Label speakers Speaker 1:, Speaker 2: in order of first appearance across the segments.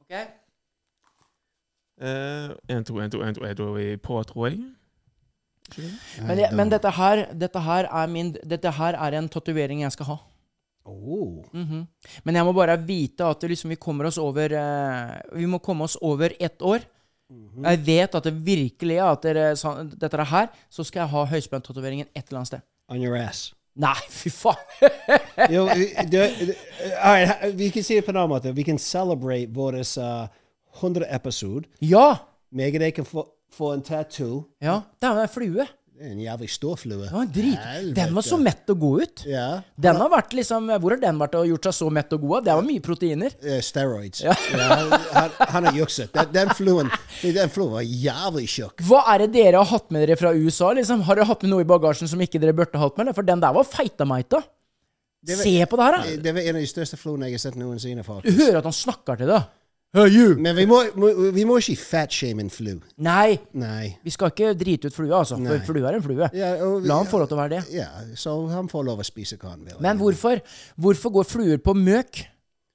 Speaker 1: Ok.
Speaker 2: Eh,
Speaker 1: Én, to, én, to, én, to, én, to er vi på, tror jeg.
Speaker 3: Men, jeg, men dette, her, dette, her er min, dette her er en tatovering jeg skal ha.
Speaker 4: Oh.
Speaker 3: Mhm. Men jeg må bare vite at det liksom, vi kommer oss over eh, Vi må komme oss over ett år.
Speaker 4: Mhm.
Speaker 3: Jeg vet at det virkelig er at dere, sa- dette er her, så skal jeg ha høyspenntatoveringen et eller annet sted.
Speaker 4: On your ass.
Speaker 3: Nei, fy faen!
Speaker 4: you know, the, uh, all right, we can see it Panamata. We can celebrate Boris uh, 100 episode.
Speaker 3: Ja!
Speaker 4: Megan Aiken for, for en tattoo.
Speaker 3: ja. Det er jo en flue.
Speaker 4: Det er En jævlig stor flue.
Speaker 3: Det var en drit. Den var
Speaker 4: Helvete.
Speaker 3: så mett og god ut.
Speaker 4: Ja.
Speaker 3: Den har vært liksom, Hvor har den vært og gjort seg så mett og god av? Det var mye proteiner.
Speaker 4: Eh, steroids. Ja. han, han har jukset. Den, den fluen den fluen var jævlig tjukk.
Speaker 3: Hva er det dere har hatt med dere fra USA? liksom? Har dere hatt med noe i bagasjen som ikke dere burde hatt med? eller? For den der var feitamaita.
Speaker 4: var-
Speaker 3: Se på det her, da!
Speaker 4: Det var en av de største fluene jeg har sett
Speaker 3: Du
Speaker 4: noensinne. faktisk.
Speaker 3: hører at han snakker til deg. Hey, you.
Speaker 4: Men vi må, må- vi må ikke fatshame en flu.
Speaker 3: Nei,
Speaker 4: Nei.
Speaker 3: vi skal ikke drite ut flua, altså. For flue er en flue.
Speaker 4: Ja, og vi-
Speaker 3: La han få lov til å være det.
Speaker 4: Ja, så han får lov å spise hva han vil.
Speaker 3: Men hvorfor? Hvorfor går fluer på møk?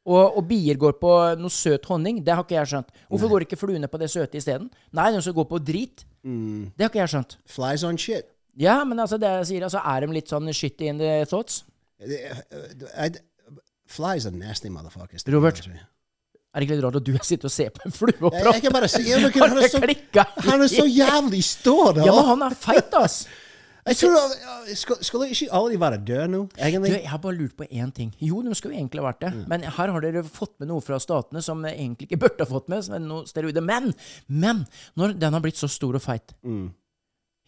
Speaker 3: Og, og bier går på noe søt honning? Det har ikke jeg skjønt. Hvorfor går ikke fluene på det søte isteden? Nei, de skal gå på drit.
Speaker 4: Mm.
Speaker 3: Det har ikke jeg skjønt.
Speaker 4: Flies on shit.
Speaker 3: Ja, men altså, det jeg sier, altså, er de litt sånn shitty in the thoughts?
Speaker 4: I, Uh, flies are nasty motherfuckers.
Speaker 3: Robert.
Speaker 4: Jeg,
Speaker 3: Er det ikke litt rart at du sitter og ser på en flue og
Speaker 4: jeg
Speaker 3: prater?
Speaker 4: kan bare si jeg, men,
Speaker 3: Har
Speaker 4: han, er
Speaker 3: det
Speaker 4: så,
Speaker 3: klikket?
Speaker 4: han er så jævlig stor, da.
Speaker 3: Ja, men han er feit, ass!
Speaker 4: jeg tror, eh, skal- Skulle ikke alle de være døde nå,
Speaker 3: Du,
Speaker 4: egentlig?
Speaker 3: jeg har bare lurt på én ting. Jo, de skulle jo egentlig ha vært det.
Speaker 4: Mm.
Speaker 3: Men her har dere fått med noe fra statene som egentlig ikke burde ha fått med. Som er noe steroider. Men, men, når den har blitt så stor og feit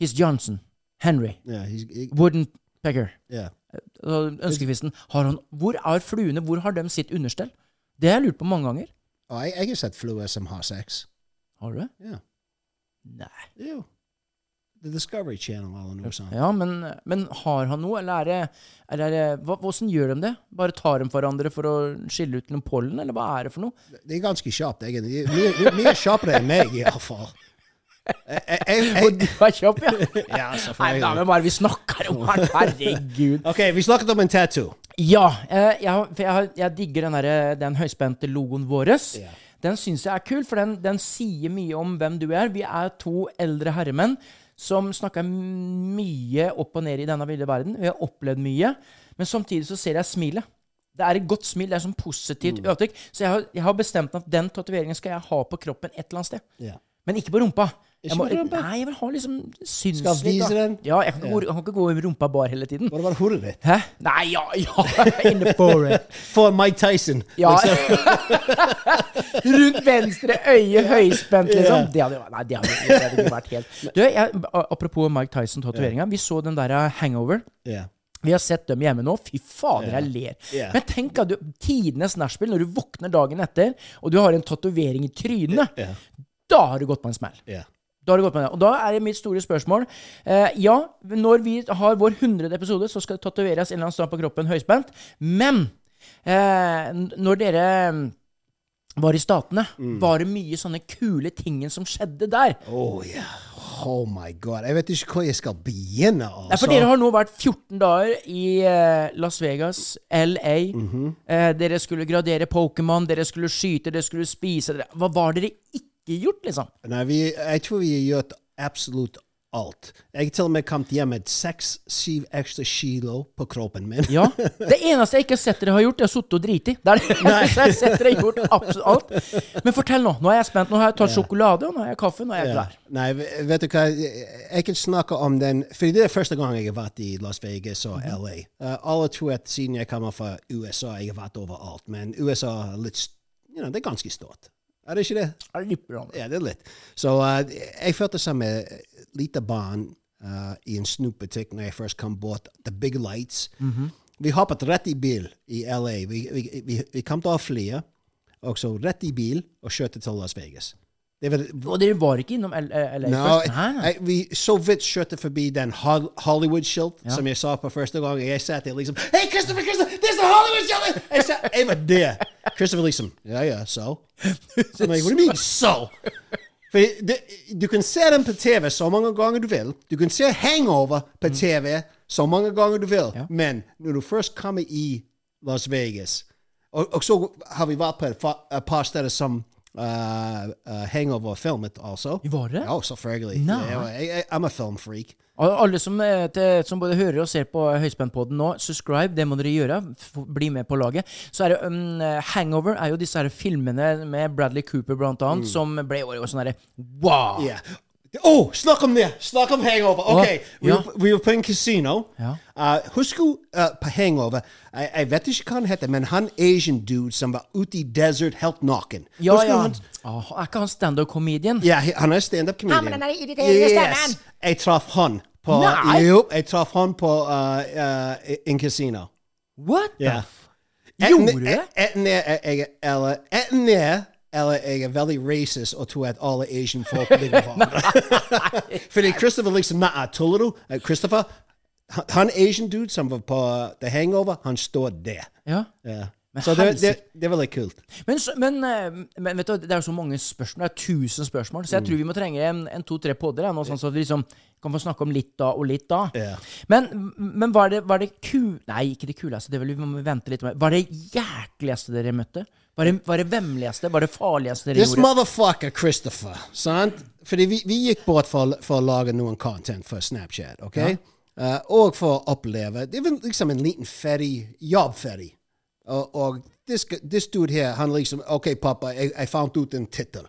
Speaker 3: His Johnson, Henry,
Speaker 4: Ja, Mm, he's- he-
Speaker 3: Wooden Pecker,
Speaker 4: ja.
Speaker 3: ønskekvisten har han, Hvor er fluene? Hvor har de sitt understell? Det har jeg lurt på mange ganger.
Speaker 4: Og jeg, jeg har sett fluer som har sex.
Speaker 3: Har du det?
Speaker 4: Ja.
Speaker 3: Nei.
Speaker 4: Jo. The Discovery Channel eller noe sånt.
Speaker 3: Ja, men, men har han noe, eller er det, eller er det hva, Hvordan gjør de det? Bare tar de hverandre for å skille ut noen pollen, eller hva er det for noe?
Speaker 4: Det er ganske kjapt, egentlig. Mye, mye kjappere enn meg, iallfall. Eh, Jeg, jeg,
Speaker 3: Og du
Speaker 4: jeg,
Speaker 3: er kjapp, ja? Nei,
Speaker 4: ja,
Speaker 3: men da er
Speaker 4: selvfølgelig.
Speaker 3: det bare vi snakker om her, herregud.
Speaker 4: OK, vi snakket om en tattoo.
Speaker 3: Ja, eh, jeg, har- for jeg, har- jeg digger den, derre- den høyspente logoen vår.
Speaker 4: Ja.
Speaker 3: Den syns jeg er kul, for den, den sier mye om hvem du er. Vi er to eldre herremenn som snakker mye opp og ned i denne ville verden. Vi har opplevd mye, men samtidig så ser jeg smilet. Det er et godt smil, det er sånn positivt
Speaker 4: Mm.
Speaker 3: uttrykk. Så jeg har, jeg har bestemt meg at den tatoveringen skal jeg ha på kroppen et eller annet sted.
Speaker 4: Ja.
Speaker 3: Men ikke på rumpa.
Speaker 4: Ikke
Speaker 3: Jeg må,
Speaker 4: på rumpa?
Speaker 3: Nei, jeg vil ha liksom synslitt.
Speaker 4: Skal vise
Speaker 3: da.
Speaker 4: den?
Speaker 3: Ja, jeg kan, ikke gå- jeg kan ikke gå i rumpa bar hele tiden.
Speaker 4: Var det bare hodet ditt?
Speaker 3: Hæ? Nei, ja, ja, in the forest.
Speaker 4: For Mike Tyson. Liksom.
Speaker 3: Ja. Rundt venstre øye, høyspent, liksom. Det hadde jo Nei, det hadde, det hadde ikke vært helt Du, jeg, apropos Mike Tyson-tatoveringa. Vi så den der eh, Hangover.
Speaker 4: Ja.
Speaker 3: Vi har sett dem hjemme nå. Fy fader, jeg ler.
Speaker 4: Ja.
Speaker 3: Men tenk at du tidenes nachspiel når du våkner dagen etter, og du har en tatovering i trynet.
Speaker 4: Ja.
Speaker 3: Da har du gått på en smell.
Speaker 4: Ja.
Speaker 3: Da har det gått med det. Og da er det mitt store spørsmål. Eh, ja, når vi har vår 100. episode, så skal det tatoveres en eller annen stad på kroppen høyspent. Men eh, n- når dere mm, var i Statene, var det mye sånne kule tingen som skjedde der.
Speaker 4: Oh, yeah. oh my god. Jeg vet ikke hvor jeg skal begynne. Altså.
Speaker 3: Nei, for dere har nå vært 14 dager i eh, Las Vegas, LA. eh, dere skulle gradere Pokémon, dere skulle skyte, dere skulle spise dere. Hva var dere ikke gjort, liksom?
Speaker 4: Nei, vi, jeg tror vi har gjort absolutt alt. Jeg har til og med kommet hjem med seks-syv ekstra kilo på kroppen min.
Speaker 3: Ja. Det eneste jeg ikke har sett dere har gjort, er å sitte og drite i. Det er det eneste jeg har sett dere har gjort absolutt alt. Men fortell nå. Nå er jeg spent. Nå har jeg tatt sjokolade, og nå har jeg kaffe, nå er jeg
Speaker 4: Ja.
Speaker 3: klar.
Speaker 4: Nei, v- vet du hva, jeg kan snakke om den For det er første gang jeg har vært i Las Vegas og
Speaker 3: Mhm.
Speaker 4: LA. Uh, alle tror at siden jeg kommer fra USA, jeg har vært overalt. Men USA er litt st- you know, Det er ganske stort. Er det ikke det?
Speaker 3: Jeg ripper om det.
Speaker 4: Ja, det er litt. Så uh, jeg følte som et lite barn uh, i en snopbutikk når jeg først kom bort. The Big Lights. Vi hoppet rett i bil i LA. Vi, vi, vi, vi kom til å ha flyet, og så rett i bil og kjørte til Las Vegas. Det var
Speaker 3: Og dere var ikke innom L- eh, LA
Speaker 4: No,
Speaker 3: først? Nei, nei.
Speaker 4: jeg, vi så vidt kjørte forbi den Hol- Hollywood-skilt som jeg sa på første gang. Jeg satt der liksom Hei, Christopher, Christopher, there's a Hollywood-skilt! Jeg, sa- jeg var der. Christopher liksom Ja, ja, så? So? What do you mean, so? For det, du kan se den på TV så mange ganger du vil. Du kan se Hangover på
Speaker 3: Mm.
Speaker 4: TV så mange ganger du vil. Men når du først kommer i Las Vegas Og, og så har vi vært på et, fa- et par steder som uh, uh, Hangover er filmet også.
Speaker 3: Var det?
Speaker 4: Ja, selvfølgelig.
Speaker 3: Nei.
Speaker 4: Jeg, jeg, jeg, I'm a film freak.
Speaker 3: Og alle som, eh, til, som både hører og ser på Høyspentpodden nå, subscribe, det må dere gjøre. F bli med på laget. Så er det um, eh, Hangover er jo disse her filmene med Bradley Cooper blant
Speaker 4: Mm.
Speaker 3: annet, som ble jo sånn herre Wow!
Speaker 4: Yeah. Oh, snakk om det! Snakk om hangover. Ok, vi,
Speaker 3: ja.
Speaker 4: var, vi var på en kasino.
Speaker 3: Ja.
Speaker 4: Uh, husk uh, på hangover jeg, jeg vet ikke hva han heter, men han Asian dude som var ute i desert helt naken.
Speaker 3: Ja,
Speaker 4: Husker du
Speaker 3: ja.
Speaker 4: han-
Speaker 3: Ah, er ikke han standup-comedian?
Speaker 4: Ja, he- han er stand-up comedian.
Speaker 3: men han er irriterende stemmen.
Speaker 4: Yes. Jeg traff han på
Speaker 3: Nei.
Speaker 4: Jo, jeg traff han på uh, uh, en kasino.
Speaker 3: What? the
Speaker 4: Ja.
Speaker 3: f- Gjorde
Speaker 4: Enten-
Speaker 3: det?
Speaker 4: Enten er er jeg eller enten er eller jeg er veldig racist og tror at alle Asian folk ligger på hverandre. Fordi Christopher liksom Nei, tuller du? Eh, Christopher, han- han Asian dude som var på uh, The Hangover, han Uh, står der.
Speaker 3: Ja.
Speaker 4: Ja.
Speaker 3: Men
Speaker 4: Så det,
Speaker 3: helsike.
Speaker 4: det, det var litt kult.
Speaker 3: Men, så- men, eh, men vet du, det er jo så mange spørsmål. Det er 1000 spørsmål. Så jeg tror vi må trenge en, en to-tre podder, ja, nå, sånn så vi liksom kan få snakke om litt da og litt da.
Speaker 4: Ja.
Speaker 3: Men, men var det, var det ku... Nei, ikke det kuleste. Det vil vi må vente litt med. Var det jækligste dere møtte? Var det, var det vemmeligste? Var det farligste dere
Speaker 4: This
Speaker 3: gjorde?
Speaker 4: motherfucker, Christopher. Sant? Fordi vi, vi gikk bort for, å- for å lage noen content for Snapchat. ok? Eh, og for å oppleve Det var liksom en liten ferry, jobbferry. Og, og this, gu- this dude her, han liksom OK, pappa, jeg, jeg fant ut en tittel.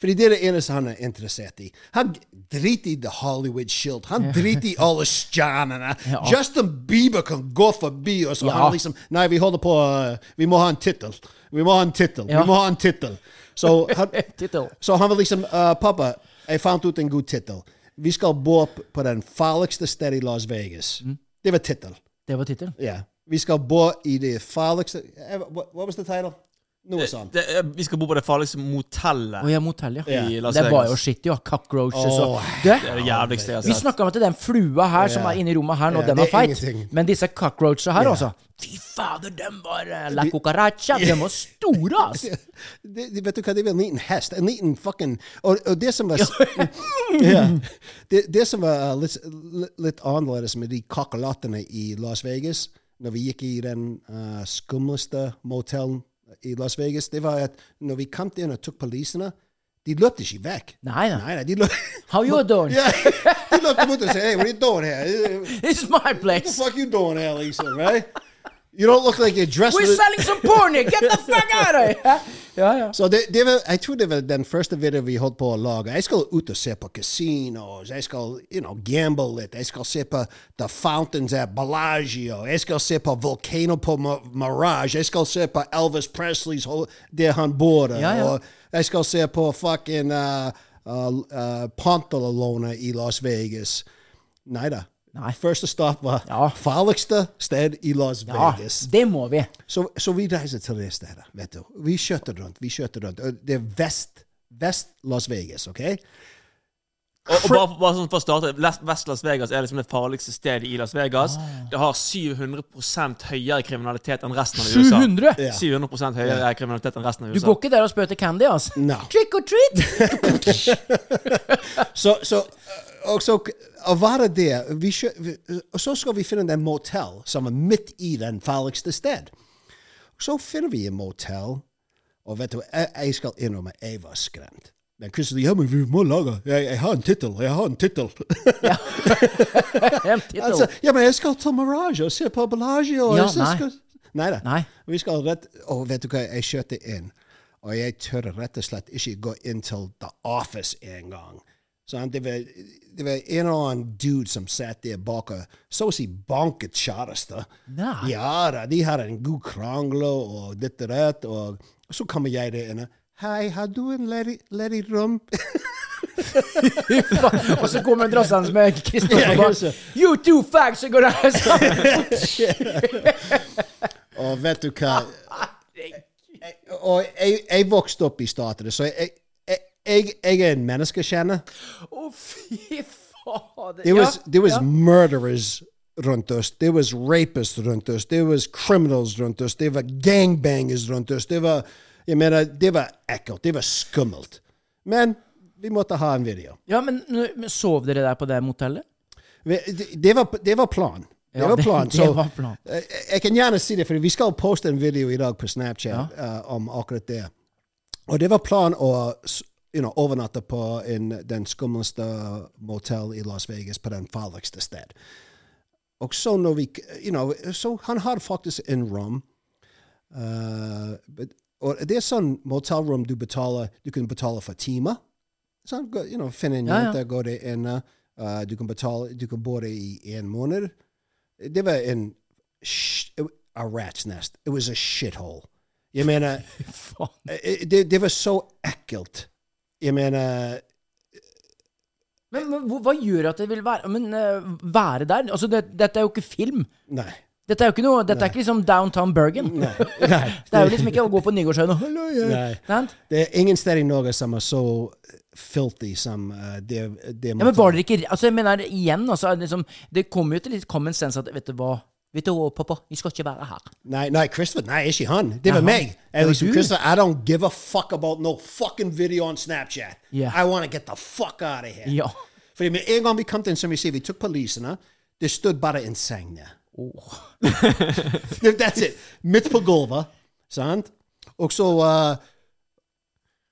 Speaker 4: Fordi det er det eneste han er interessert i. Han driter i The Hollywood Shield. Han driter i alle stjernene. Justin Bieber kan gå forbi oss, og
Speaker 3: Ja.
Speaker 4: han liksom Nei, vi holder på eh, Vi må ha en tittel. Vi må ha en tittel.
Speaker 3: Ja.
Speaker 4: Vi må ha en tittel. Så han,
Speaker 3: Tittel.
Speaker 4: så han var liksom eh, Pappa, jeg fant ut en god tittel. Vi skal bo p- på den farligste stedet i Las Vegas.
Speaker 3: Mm.
Speaker 4: Det var tittel.
Speaker 3: Det var tittelen.
Speaker 4: Ja. Vi skal bo i det farligste eh, Hva hva var tittelen?
Speaker 3: Eh,
Speaker 4: Noe sånt.
Speaker 2: Det, er- vi skal bo på det farligste motellet.
Speaker 3: Å ja, motell, ja.
Speaker 2: I Las
Speaker 3: Det var
Speaker 2: Vegas.
Speaker 3: jo shitty, ja. Cockroaches og
Speaker 4: Åh,
Speaker 3: Det
Speaker 2: Det er det jævligste jeg har
Speaker 3: Vi
Speaker 2: sett.
Speaker 3: snakka om at den flua her som er inne i rommet her nå,
Speaker 4: Altså, Ja,
Speaker 3: den
Speaker 4: det
Speaker 3: var
Speaker 4: er
Speaker 3: feit.
Speaker 4: ingenting.
Speaker 3: Men disse cockroachene her, altså. Fy fader, dem var eh, La cucaracha. De var store, ass.
Speaker 4: Det, det, vet du hva, det var en liten hest. En liten fucking Og, og det som var ja. det, det som var uh, litt, litt, litt annerledes med de kakerlakkene i Las Vegas, når vi gikk i den uh, skumleste motellen i Las Vegas, det var at når vi kom inn og tok polisene, de løp ikke vekk.
Speaker 3: Nei, nei.
Speaker 4: Nei, nei, de løp
Speaker 3: How you doing?
Speaker 4: Ja, De løp mot oss og sa Hey, what are you doing here?
Speaker 3: This is my
Speaker 4: What the
Speaker 3: place.
Speaker 4: fuck you doing here, Lisa? Right? You don't look like you're dressed
Speaker 3: We're
Speaker 4: with-
Speaker 3: selling some porn here. Get the fuck out of here. Ja, ja.
Speaker 4: Så det, det var, jeg tror det var den første videoen vi holdt på å lage. Jeg skal ut og se på casinos, jeg skal you know, gamble litt, jeg skal se på The Fountains at Bellagio, jeg skal se på Volcano på Ma- Mirage, jeg skal se på Elvis Presleys ho- der han bor,
Speaker 3: Ja, ja.
Speaker 4: og jeg skal se på fucking uh, uh, uh, Pontalona i Las Vegas. Neida.
Speaker 3: Nei.
Speaker 4: Første stopp var
Speaker 3: Ja.
Speaker 4: farligste sted i Las
Speaker 3: Ja,
Speaker 4: Vegas.
Speaker 3: det må vi.
Speaker 4: Så, så vi reiser til det stedet. vet du. Vi kjørte rundt. vi kjørte rundt. Og Det er vest, vest Las Vegas, OK?
Speaker 2: Og, og bare, bare sånn for å starte, Las- Vest Las Vegas er liksom det farligste stedet i Las Vegas.
Speaker 3: Ah.
Speaker 2: Det har 700 høyere kriminalitet enn resten av USA.
Speaker 3: 700?
Speaker 4: Ja.
Speaker 2: 700 høyere kriminalitet enn resten av
Speaker 3: Du
Speaker 2: USA.
Speaker 3: går ikke der og spør til Candy, altså.
Speaker 4: No.
Speaker 3: Trick or treat!
Speaker 4: Så, så, og så å være der vi skjø, vi, Og så skal vi finne en motell som er midt i den farligste sted. Så finner vi en motell, og vet du, jeg, jeg skal innrømme jeg var skremt. Men Christer, ja, men vi må lage Jeg, jeg har en tittel! Jeg har en tittel!
Speaker 3: En tittel.
Speaker 4: altså, ja, men jeg skal til Mirage og se på Bellagio. og
Speaker 3: Ja,
Speaker 4: jeg
Speaker 3: nei.
Speaker 4: Skal, Neida.
Speaker 3: Nei.
Speaker 4: Vi skal rett Og vet du hva, jeg kjørte inn, og jeg tør rett og slett ikke gå inn til The Office engang. Sånn, det, var- det var en eller annen dude som satt der bak og så å si banket kjæreste.
Speaker 3: Nei.
Speaker 4: Ja da, de har en god krangle og ditt og datt, og så kommer jeg der inne. Hei, har du en ledig, ledig rom?
Speaker 3: og så kommer drassene med Kristoffer
Speaker 4: Ja,
Speaker 3: og bare
Speaker 4: kanskje.
Speaker 3: You two fags are gonna have some
Speaker 4: Og vet du hva? Og jeg, jeg vokste opp i staten, så jeg, jeg, jeg, jeg er en menneskekjenner.
Speaker 3: Å, fy fader.
Speaker 4: There was,
Speaker 3: Ja,
Speaker 4: there was
Speaker 3: ja.
Speaker 4: murderers rundt oss. There was rapists rundt oss. There was criminals rundt oss. There var gangbangers rundt oss. Det var, jeg mener, det var ekkelt. Det var skummelt. Men vi måtte ha en video.
Speaker 3: Ja, men, men sov dere der på det motellet?
Speaker 4: Vi- Det, det, var, det var planen. Det
Speaker 3: Ja,
Speaker 4: var
Speaker 3: det-
Speaker 4: planen.
Speaker 3: det
Speaker 4: så-
Speaker 3: var planen.
Speaker 4: Eh, Jeg kan gjerne si det, for vi skal poste en video i dag på Snapchat eh, om akkurat det. Og det var planen å s- you know, overnatte på en, den skumleste motell i Las Vegas, på den farligste sted. Og så når vi k- you know, Så han har faktisk en rom. eh, but- og det er sånn motellrom du betaler Du kan betale for timer. Sånn, gå- you know, finne en
Speaker 3: Ja, ja.
Speaker 4: jente, gå der inne. eh, du kan betale Du kan bo der i en måned. Det var en sh- A rat's nest. It was a shithole. Jeg mener
Speaker 3: Faen.
Speaker 4: Eh, det, det var så ekkelt. Jeg mener
Speaker 3: Men, men hva- hva gjør at det vil være Men eh, være der? Altså, det, dette er jo ikke film.
Speaker 4: Nei.
Speaker 3: Dette er jo ikke noe Dette er ikke liksom Downtown Bergen.
Speaker 4: Nei.
Speaker 3: Det er jo liksom ikke å gå på Nygårdsøyen og Hallo, jeg
Speaker 4: Nei.
Speaker 3: Sant?
Speaker 4: Det er ingen steder i Norge som er så filthy som eh, det, det
Speaker 3: Ja, men var dere ikke Altså, jeg mener igjen, altså liksom, Det kommer jo til litt common sense at Vet du hva? Vet du hva, pappa? Vi skal ikke være her.
Speaker 4: Nei, nei, Christopher. Nei, ikke han. Det var
Speaker 3: Nei, han-
Speaker 4: meg. Jeg
Speaker 3: det var
Speaker 4: liksom,
Speaker 3: du.
Speaker 4: Christopher, I don't give a fuck about no fucking video on Snapchat.
Speaker 3: Ja.
Speaker 4: I want to get the fuck out of here.
Speaker 3: Ja.
Speaker 4: Fordi med en gang vi kom til en som vi sier, vi tok polisene, det stod bare en seng der.
Speaker 3: Oh.
Speaker 4: That's it. Midt på gulvet, sant? Og så eh,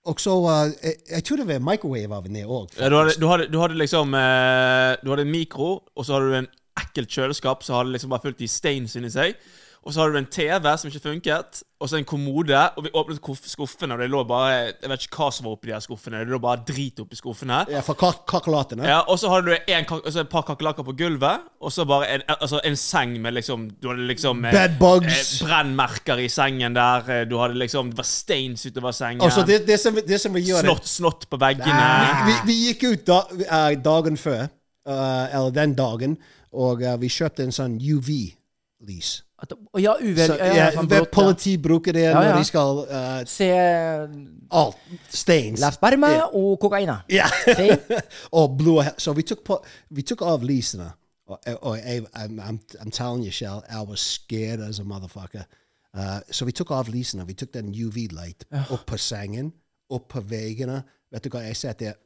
Speaker 4: Og så eh, jeg, jeg tror det var microwave av det òg.
Speaker 2: Ja, du, hadde, du, hadde, du hadde liksom eh, Du hadde en mikro, og så hadde du en ekkelt kjøleskap som hadde liksom bare fullt i steins inni seg. Og så hadde du en TV som ikke funket, og så en kommode. Og vi åpnet kuff- skuffene, og det lå bare Jeg vet ikke hva som var oppi de her skuffene. Det lå bare drit oppi skuffene.
Speaker 4: Ja, for kak eh? kakerlakkene.
Speaker 2: Ja, og så hadde du en, kak- altså et par kakerlakker på gulvet, og så bare en, altså en seng med liksom Du hadde liksom eh,
Speaker 4: Bed bugs.
Speaker 2: Eh, brennmerker i sengen der. eh, Du hadde liksom Det var steins utover sengen.
Speaker 4: Og så det, det, som, det som vi gjør
Speaker 2: Snott, snott på veggene.
Speaker 3: Ah.
Speaker 4: Vi, vi, vi gikk ut da, eh, dagen før, eh, eller den dagen, og eh, vi kjøpte en sånn UV-lys.
Speaker 3: At, og ja, uvel...
Speaker 4: Så,
Speaker 3: Ja, ja,
Speaker 4: ja,
Speaker 3: sånn
Speaker 4: hver
Speaker 3: blått, ja.
Speaker 4: politi bruker det
Speaker 3: Ja, ja.
Speaker 4: når de skal eh,
Speaker 3: Se
Speaker 4: Alt. Stains.
Speaker 3: La sperma
Speaker 4: Ja.
Speaker 3: og kokaina.
Speaker 4: Ja.
Speaker 3: Se.
Speaker 4: og blå he- Så vi tok, på, vi tok av lysene. Og, eh, og jeg, I'm, I'm, I'm telling you, Shell, I was scared as a motherfucker. Eh, så vi tok av lysene. Vi tok den UV-light opp på sengen, opp på veggene. Vet du hva, jeg satt der.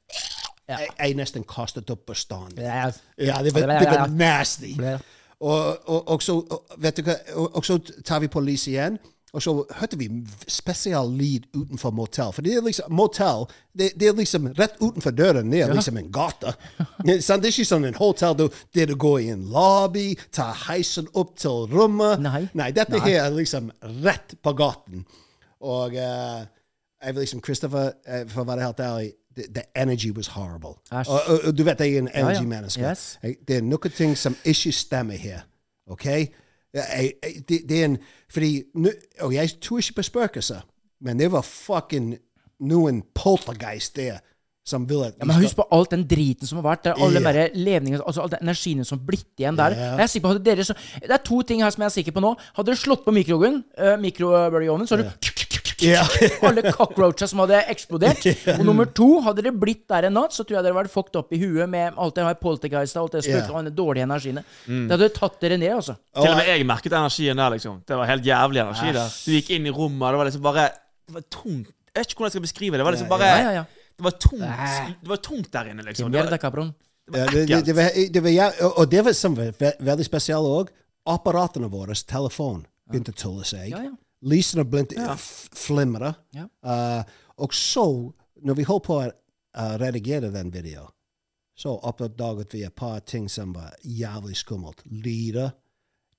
Speaker 4: Jeg, jeg nesten kastet opp bestanden.
Speaker 3: Ja.
Speaker 4: Ja, det var,
Speaker 3: Ja, det var-
Speaker 4: det var
Speaker 3: ja, ja.
Speaker 4: nasty.
Speaker 3: Ble-
Speaker 4: Og, og, og, så, og, vet du hva, og, og så tar vi på lyset igjen, og så hørte vi spesial lyd utenfor motell. For det er liksom, motell, det, det er liksom rett utenfor døren, det er liksom en gate. Sant? det er ikke sånn en hotell du- der du går i en lobby, tar heisen opp til rommet.
Speaker 3: Nei.
Speaker 4: dette her er liksom rett på gaten. Og eh, jeg vil liksom, Christopher, eh, for å være helt ærlig, the, the energy was horrible.
Speaker 3: Æsj.
Speaker 4: Og, og, og du vet, jeg er en
Speaker 3: ja.
Speaker 4: energy-menneske.
Speaker 3: Yes.
Speaker 4: Jeg- Det er noen ting som ikke stemmer her. OK? Jeg- jeg- Det, det er en Fordi nå- Og jeg tror ikke på spøkelser, men det var fucking noen poltergeist der som ville at vi
Speaker 3: Ja, men
Speaker 4: skal-
Speaker 3: husk på alt den driten som har vært der. Alle
Speaker 4: Ja.
Speaker 3: yeah. levningene, altså all den energien som har blitt igjen der.
Speaker 4: Ja.
Speaker 3: Jeg er sikker på, hadde dere eh, så, det er to ting her som jeg er sikker på nå. Hadde dere slått på mikroovnen, eh, mikrobølgeovnen, så hadde du
Speaker 4: Ja.
Speaker 3: Alle cockroacher som hadde eksplodert. Og nummer to, hadde dere blitt der en natt, så tror jeg dere hadde vært fucked opp i huet med alt det her poltergeistet alt det spøket
Speaker 4: Ja. Mm.
Speaker 3: og den dårlige energien. Det hadde tatt dere ned, altså.
Speaker 2: Til og med jeg merket energien der, liksom. Det var helt jævlig energi der. Du gikk inn i rommet, og det var liksom bare Det var tungt. Jeg vet ikke hvordan jeg skal beskrive det. Det var liksom bare
Speaker 3: Ja, ja, ja.
Speaker 2: Det var tungt, det var tungt der inne, liksom. Det
Speaker 3: Mierda,
Speaker 2: var,
Speaker 3: cabron.
Speaker 4: Ja, det, det, det, var, det var, jæv- og- og det var som var ve veldig spesielt òg. Apparatene våre, telefon, begynte å tulle seg.
Speaker 3: Ja, ja.
Speaker 4: Lysene begynte å f- flimre.
Speaker 3: Ja.
Speaker 4: Eh, og så, når vi holdt på å eh, redigere den videoen, så oppdaget vi et par ting som var jævlig skummelt. Lyder.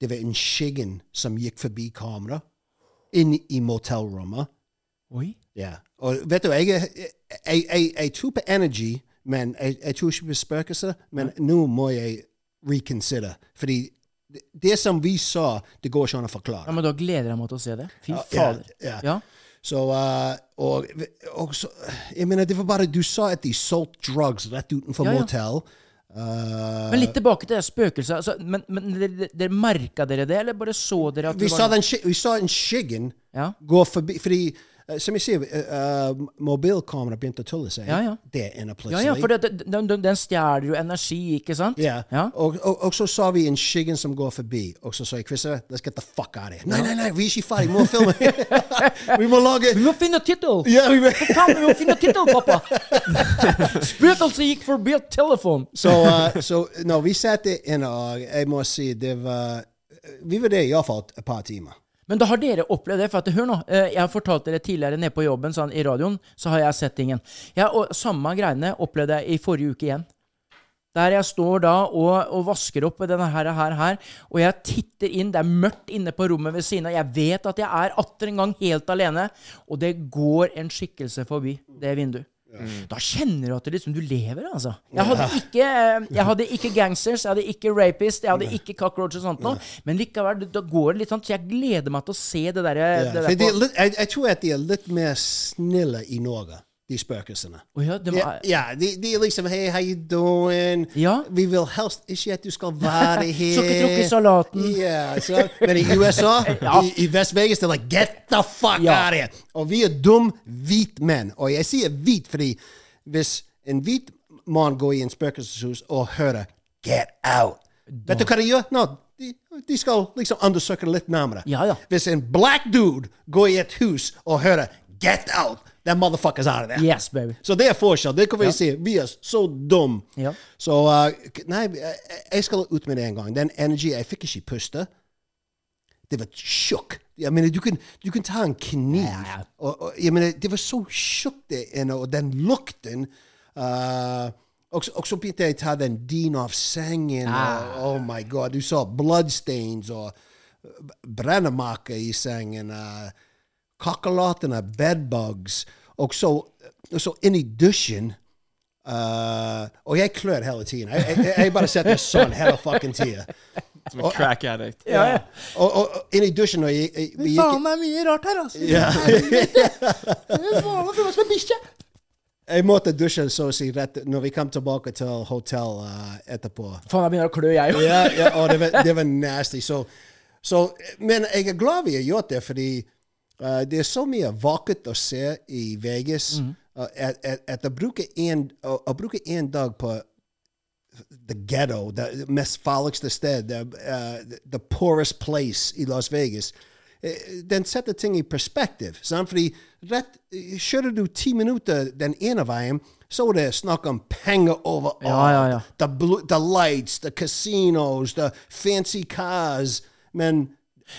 Speaker 4: Det var en skyggen som gikk forbi kamera, inn i motellrommet.
Speaker 3: Oi.
Speaker 4: Ja. Og vet du, jeg, jeg, jeg, jeg, jeg tror på energy, men jeg, jeg tror ikke på spøkelser. Men nå må jeg reconsider. Fordi det, det som vi sa, det går ikke an å
Speaker 3: Ja,
Speaker 4: forklare.
Speaker 3: men da gleder jeg meg til å se det. Fy
Speaker 4: Ja, ja,
Speaker 3: fader.
Speaker 4: ja.
Speaker 3: Ja.
Speaker 4: Så, uh, og, og så, jeg mener, det var bare Du sa at de solgte drugs rett utenfor
Speaker 3: Ja, ja.
Speaker 4: motell. Uh,
Speaker 3: Men litt tilbake til det spøkelset. Altså, men men dere, dere- dere merka dere det, eller bare så dere at
Speaker 4: vi,
Speaker 3: det
Speaker 4: sa
Speaker 3: var
Speaker 4: den, sky- vi sa en skyggen
Speaker 3: Ja.
Speaker 4: gå forbi Fordi, eh, som jeg sier, uh, mobilkamera begynte å tulle seg.
Speaker 3: Ja, ja.
Speaker 4: Det er inne
Speaker 3: Ja,
Speaker 4: plutselig.
Speaker 3: ja, for det, det- den, den, den stjeler jo energi, ikke sant?
Speaker 4: Ja.
Speaker 3: Ja.
Speaker 4: Og, og, og så sa vi en skyggen som går forbi, og så sa jeg Christer, let's get the fuck out of here. Nei, nei, nei, vi er ikke ferdig, vi må filme. vi må lage
Speaker 3: Vi må finne tittel!
Speaker 4: ja, vi må.
Speaker 3: Faen, vi må finne tittel, pappa! Spøkelset gikk forbi et telefon!
Speaker 4: Så, uh, så no, vi satt inne, og jeg må si det var Vi var der iallfall et par timer.
Speaker 3: Men da har dere opplevd det. For at, hør nå, eh, jeg har fortalt dere tidligere nede på jobben sånn, i radioen, så har jeg sett tingen. Ja, og samme greiene opplevde jeg i forrige uke igjen. Der jeg står da og, og vasker opp med denne her, her, her, og jeg titter inn, det er mørkt inne på rommet ved siden av, jeg vet at jeg er atter en gang helt alene, og det går en skikkelse forbi det vinduet. Da kjenner du at du, liksom, du lever, altså. Jeg hadde, ikke, eh, jeg hadde ikke gangsters, jeg hadde ikke rapist, jeg hadde ikke cockroaches og sånt noe, men likevel, da går det litt sånn, så jeg gleder meg til å se det der, eh,
Speaker 4: Ja,
Speaker 3: det
Speaker 4: for
Speaker 3: der
Speaker 4: de er
Speaker 3: på...
Speaker 4: litt, jeg, jeg tror at de er litt mer snille i Norge, de spøkelsene.
Speaker 3: Å ja, det
Speaker 4: Ja,
Speaker 3: var...
Speaker 4: ja de, de er liksom Hei, how you doing?
Speaker 3: Ja.
Speaker 4: Vi vil helst ikke at du skal være her.
Speaker 3: Skal ikke drukke salaten.
Speaker 4: Ja, så, men i USA,
Speaker 3: Ja.
Speaker 4: i, i Vest-Vegas, det er like Get the fuck
Speaker 3: Ja.
Speaker 4: out of here! Og vi er dum hvit menn. Og jeg sier hvit fordi hvis en hvit mann går i en spøkelseshus og hører Get out! Vet du hva de gjør? No, de, de skal liksom undersøke det litt nærmere.
Speaker 3: Ja, ja.
Speaker 4: Hvis en black dude går i et hus og hører Get out! That motherfucker's out of there.
Speaker 3: Yes, baby.
Speaker 4: Så det er forskjell. Det kan vi si. Vi er så dum.
Speaker 3: Ja.
Speaker 4: Så uh, k- Nei, jeg jeg skal ut med det en gang. Den energi Jeg fikk ikke puste. Det var tjukk. Jeg mener, du kan, du kan ta en kniv og, og, jeg mener, Det var så tjukt, det inne, og den lukten uh, og, så- og så begynte jeg å ta den din av sengen. Og, oh my god. Du så bloodstains og brennemaker i sengen. Uh, kakerlakkene, bedbugs, og så, og så inn i dusjen. eh, og jeg klør hele tiden. Jeg, jeg, jeg bare setter meg sånn hele fucking tida.
Speaker 2: som en crack addict.
Speaker 4: Og, og, og inn i dusjen når jeg, jeg, vi gikk,
Speaker 3: Faen, det er mye rart her, altså.
Speaker 4: Ja.
Speaker 3: Faen, det var som en bikkje.
Speaker 4: jeg måtte dusje så å si rett når vi kom tilbake til hotell eh, etterpå.
Speaker 3: Faen, jeg begynner å klø, jeg jo.
Speaker 4: Ja, ja og det var, det var nasty. Så, så, men jeg er glad vi har gjort det, fordi eh, det er så mye vakkert å se i Vegas. eh, at, at, at å, bruke en, å, å bruke en dag på the ghetto, det mest farligste sted, the, uh, the poorest place i Las Vegas, eh, den setter ting i perspektiv. Sant? Fordi rett, kjører du ti minutter den ene veien, så er det snakk om penger overalt.
Speaker 3: Ja, ja, ja.
Speaker 4: The, blu- the lights, the casinos, the fancy cars. Men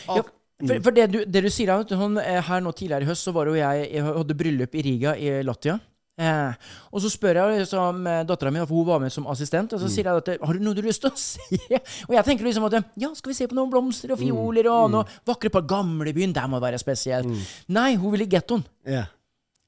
Speaker 3: Ja,
Speaker 4: mm.
Speaker 3: for, for det, du, det du sier her, vet du, han, eh, her nå tidligere i høst, så var jo jeg, jeg hadde bryllup i Riga i Latvia. Eh, og så spør jeg liksom, dattera mi, for hun var med som assistent, og så sier jeg at eh, har du noe du har lyst til å se? Og jeg tenker liksom at ja, skal vi se på noen blomster og fioler og noe vakre på gamlebyen? Der må det være spesielt. Nei, hun vil i gettoen.
Speaker 4: ja.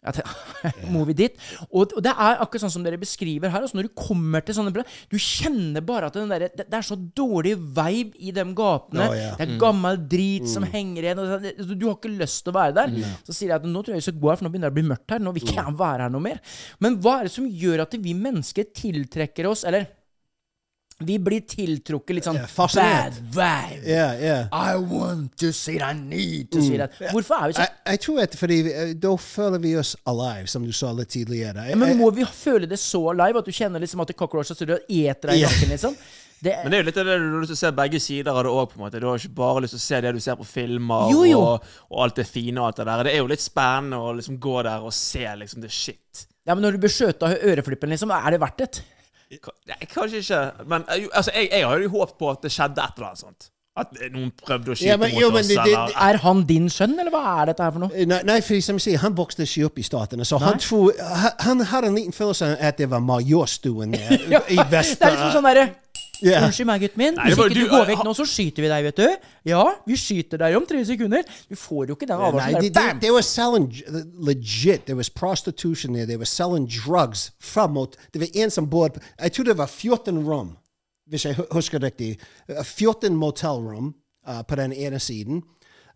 Speaker 3: Jeg tenker, Må vi dit? Og, og det er akkurat sånn som dere beskriver her. Altså når du kommer til sånne plasser, Du kjenner bare at den der, det, det er så dårlig vibe i de gatene.
Speaker 4: Å, ja. Mm.
Speaker 3: Det er gammel drit som henger igjen. Og det, altså, du har ikke lyst til å være der. Så sier jeg at nå tror jeg vi skal gå her, for nå begynner det å bli mørkt her. Nå vil ikke
Speaker 4: Mm.
Speaker 3: jeg være her noe mer. Men hva er det som gjør at vi mennesker tiltrekker oss Eller Vi blir tiltrukket litt sånn
Speaker 4: Ja, fascinert.
Speaker 3: bad vibe.
Speaker 4: Yeah, yeah.
Speaker 3: I want to see that, I need to
Speaker 4: Mm.
Speaker 3: see that. Hvorfor er vi
Speaker 4: Jeg,
Speaker 3: sånn?
Speaker 4: jeg tror at fordi vi, eh, da føler vi oss alive, som du sa litt tidligere. Jeg,
Speaker 3: Men
Speaker 4: jeg,
Speaker 3: må vi føle det så live at du kjenner liksom at cockroacha står og eter deg i
Speaker 4: Ja.
Speaker 3: nakken, liksom? Det,
Speaker 2: Men det er jo litt av det du har lyst til å se begge sider av det òg. Du har ikke bare lyst til å se det du ser på filmer
Speaker 3: Jo, jo.
Speaker 2: Og, og alt det fine og alt det der. Det er jo litt spennende å liksom gå der og se liksom det shit.
Speaker 3: ja, men når du blir skjøtet av øreflippen, liksom, er det verdt det?
Speaker 2: Ka- Nei, kanskje ikke. Men eh, jo, altså, jeg, jeg hadde jo håpet på at det skjedde et eller annet sånt. At eh, noen prøvde å skyte
Speaker 4: Ja, men-
Speaker 2: mot
Speaker 4: jo, men
Speaker 2: oss,
Speaker 4: det- det-
Speaker 2: eller
Speaker 3: Er han din sønn, eller hva er dette her for noe?
Speaker 4: Nei, nei, for som jeg sier, han vokste ikke opp i Statene, så han, tror, han, han har en liten følelse av at det var majorstuen eh, i vest.
Speaker 3: Det er liksom sånn derre
Speaker 4: Ja.
Speaker 3: Unnskyld meg, gutten min.
Speaker 2: Nei, det
Speaker 3: Hvis
Speaker 2: var-
Speaker 3: ikke du
Speaker 2: du- eh,
Speaker 3: går vekk
Speaker 2: ha-
Speaker 3: nå, så skyter vi deg, vet du. Ja, vi skyter deg om tre sekunder. Du får jo ikke den
Speaker 4: Eh, Nei,
Speaker 3: advarselen.
Speaker 4: they,
Speaker 3: der.
Speaker 4: they,
Speaker 3: Bam!
Speaker 4: they were selling j- legit. There was prostitution there. They were selling drugs from mot Det var en som bodde Jeg tror det var 14 rom, hvis jeg hu- husker riktig. Eh, 14 motellrom eh, på den ene siden.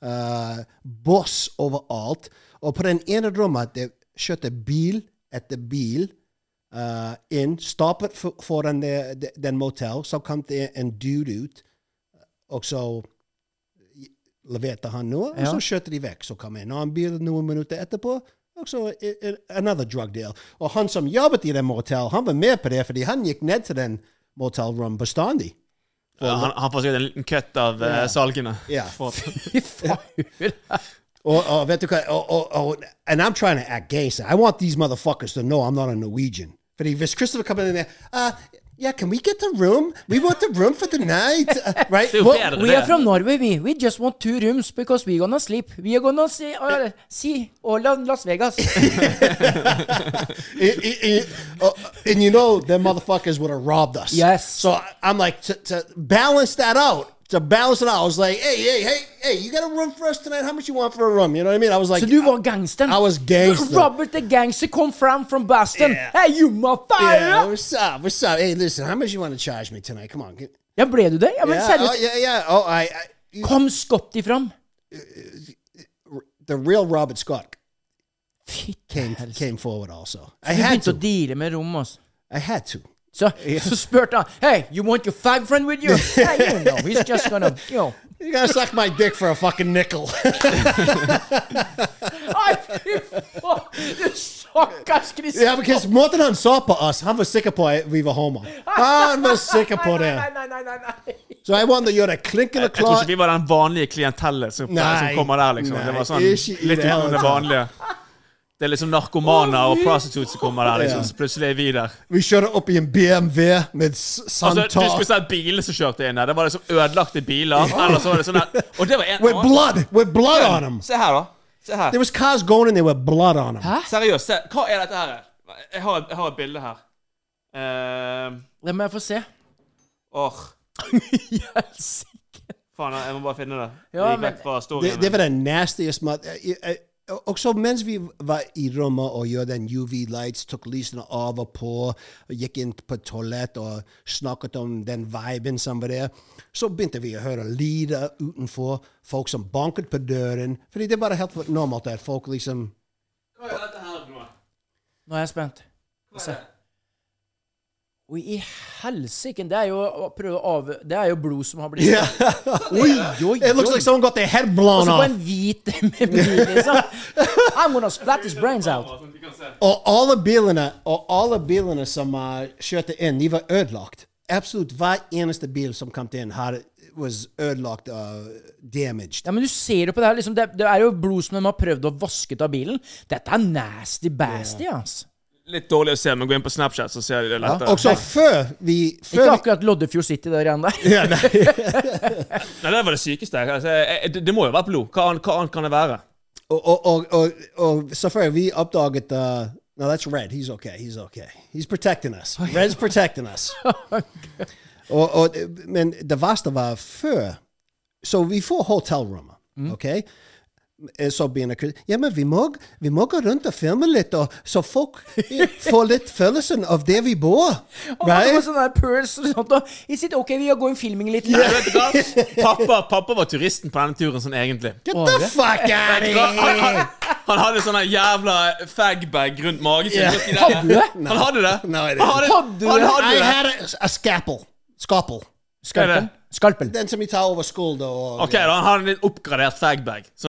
Speaker 4: Uh, boss overalt. Og på den ene rommet det kjørte bil etter bil eh, inn. Stoppet for- foran det- det- den motell. Så kom det en dude ut, og så leverte han noe, og
Speaker 3: Ja.
Speaker 4: så skjøt de vekk. Så kom en annen bil noen minutter etterpå, og så e- e- another drug deal. Og han som jobbet i den motel, han var med på det, fordi han gikk ned til den motelrom bestandig.
Speaker 2: han, han får sikkert en liten kutt av eh, salgene.
Speaker 4: Ja.
Speaker 2: For-
Speaker 3: Fy faen.
Speaker 4: Og, og vet du hva, og, og, og, and I'm trying to act gay, so I want these motherfuckers to know I'm not a Norwegian. Fordi hvis Christopher kommer inn der, uh, yeah, can we get the room? We want the room for the night. Uh, right?
Speaker 2: Det er jo
Speaker 4: Well,
Speaker 2: bedre,
Speaker 3: We
Speaker 2: det.
Speaker 3: are from Norway, we. We just want two rooms because we gonna sleep. We are gonna see, uh, see all of Las Vegas.
Speaker 4: it, it, it- uh, and you know the motherfuckers would have robbed us.
Speaker 3: Yes.
Speaker 4: So I- I'm like to, to balance that out. To balance it out, I was like, hey, hey, hey, hey, you got a room for us tonight? How much you want for a room? You know what I mean? I was like, uh,
Speaker 3: Så du var gangsteren?
Speaker 4: I was gangster.
Speaker 3: Robert the gangster come from from Boston.
Speaker 4: Yeah.
Speaker 3: Hey, you
Speaker 4: yeah,
Speaker 3: motherfucker!
Speaker 4: what's up? What's up? Hey, listen, how much you want to charge me tonight? Come on. Get,
Speaker 3: Ja, ble du det? Ja, men
Speaker 4: yeah, oh,
Speaker 3: seriøst.
Speaker 4: yeah, yeah. Oh, I, I you-
Speaker 3: Kom Scotty fram.
Speaker 4: the real Robert Scott
Speaker 3: Fytti
Speaker 4: came
Speaker 3: helsike.
Speaker 4: came forward altså. I
Speaker 3: Du
Speaker 4: had
Speaker 3: begynte
Speaker 4: to.
Speaker 3: å deale med rom, altså.
Speaker 4: I had to.
Speaker 3: Så, så spurte han Hey, you want your fag friend with you? hey, you know, he's just gonna you know.
Speaker 4: You gotta suck my dick for a fucking nickel.
Speaker 3: Nei, fy faen! Du stakkars Chris.
Speaker 4: Ja, because måten han sa på oss, han var sikker på at vi var homo. Han var sikker på det.
Speaker 3: Nei, nei, nei, nei, nei.
Speaker 4: Så jeg vant å gjøre klinkende
Speaker 2: Jeg tror
Speaker 4: klart.
Speaker 2: ikke vi var den vanlige klientellet som,
Speaker 4: Nei,
Speaker 2: som kommer der, liksom. det
Speaker 4: nei,
Speaker 2: var sånn
Speaker 4: ikke i
Speaker 2: litt
Speaker 4: det hele
Speaker 2: utenom det
Speaker 4: tatt.
Speaker 2: vanlige. Det er liksom narkomaner
Speaker 3: Å, fy
Speaker 2: og prostitutes som kommer der,
Speaker 4: Ja.
Speaker 2: liksom. Så plutselig er vi der.
Speaker 4: Vi kjørte opp i en BMW med s-
Speaker 2: Altså, du
Speaker 4: sandtak.
Speaker 2: skulle sett bilene som kjørte inn der. Det var liksom ødelagte biler. Eller så var det sånn her Og det var en
Speaker 4: With blood! With blood on them!
Speaker 2: Se her, da. Se her.
Speaker 4: There was cars going in there with blood on them.
Speaker 2: Seriøst, se. Hva er dette her? Jeg har, jeg har et bilde her. Ehm,
Speaker 3: Det må jeg få se.
Speaker 2: Åh,
Speaker 3: Helsike.
Speaker 2: faen, jeg må bare finne det. Det
Speaker 3: Ja,
Speaker 2: gikk
Speaker 3: men-
Speaker 2: vekk fra
Speaker 4: Det,
Speaker 2: storyen.
Speaker 4: det var den nastiest eh, mat... Også mens vi var i rommet og gjorde den UV lights, tok lysene av og på, og gikk inn på toalett og snakket om den viben som var der, så begynte vi å høre lyder utenfor, folk som banket på døren. Fordi det er bare helt normalt at folk liksom
Speaker 2: Hva er dette her for noe?
Speaker 3: Nå er jeg spent.
Speaker 2: Hva er det?
Speaker 3: Oi, i helsike. Det er jo å prøve å av... Det er jo blod som har blitt
Speaker 4: Yeah.
Speaker 3: Oi, oi,
Speaker 4: It looks
Speaker 3: oi.
Speaker 4: like someone got their head
Speaker 3: Og
Speaker 4: blown
Speaker 3: så Altså, på en
Speaker 4: off.
Speaker 3: hvit med bil, liksom. I'm gonna splat his brains out.
Speaker 2: Sånn at vi kan se.
Speaker 4: Og alle bilene, og alle bilene som eh, kjørte inn, de var ødelagt. Absolutt hver eneste bil som kom inn, had, was ødelagt og damaged.
Speaker 3: Ja, men du ser jo på det her, liksom. Det, det er jo blod som de har prøvd å vaske ut av bilen. Dette er nasty basty, ass.
Speaker 2: Litt dårlig å se, men gå inn på Snapchat, så ser de det lettere.
Speaker 4: Og så før vi
Speaker 3: Ikke
Speaker 4: før vi-
Speaker 3: akkurat Loddefjord City der igjen der.
Speaker 4: ja, nei.
Speaker 2: Nei, det var det sykeste. Altså, jeg, jeg- det, det må jo være blod. Hva annet, hva annet kan det være?
Speaker 4: og, og, og, og, og så før vi oppdaget uh, No, that's Red. He's okay. He's okay. He's protecting us. Red's protecting us. og, og, men det verste var før. Så vi får hotellrommet,
Speaker 3: Mm.
Speaker 4: OK? Eh, Så begynner Chris Ja, men vi må, vi må gå rundt og filme litt, og, så folk eh, får litt følelsen av der vi bor.
Speaker 3: Og det var
Speaker 4: Right?
Speaker 3: sånn der pearls og sånt, og is it okay we are going filming litt?
Speaker 2: Nei, vet du hva? Pappa, pappa var turisten på denne turen sånn egentlig.
Speaker 4: Get the fuck out of
Speaker 2: Han,
Speaker 4: here!
Speaker 2: han, han hadde sånn en jævla fagbag rundt magen sin.
Speaker 4: Ja.
Speaker 2: Vet du hva de
Speaker 3: Hadde du det?
Speaker 2: der- Han hadde det.
Speaker 4: Nei, det-
Speaker 2: Han hadde,
Speaker 3: Hadde du
Speaker 2: han
Speaker 3: det? er
Speaker 2: hadde
Speaker 4: I
Speaker 2: det.
Speaker 4: had a, a scalpel. Skapel.
Speaker 3: Skalpel. Skalpel.
Speaker 4: Den som vi tar over skulder og
Speaker 2: Ok, da har han en oppgradert sagbag. Så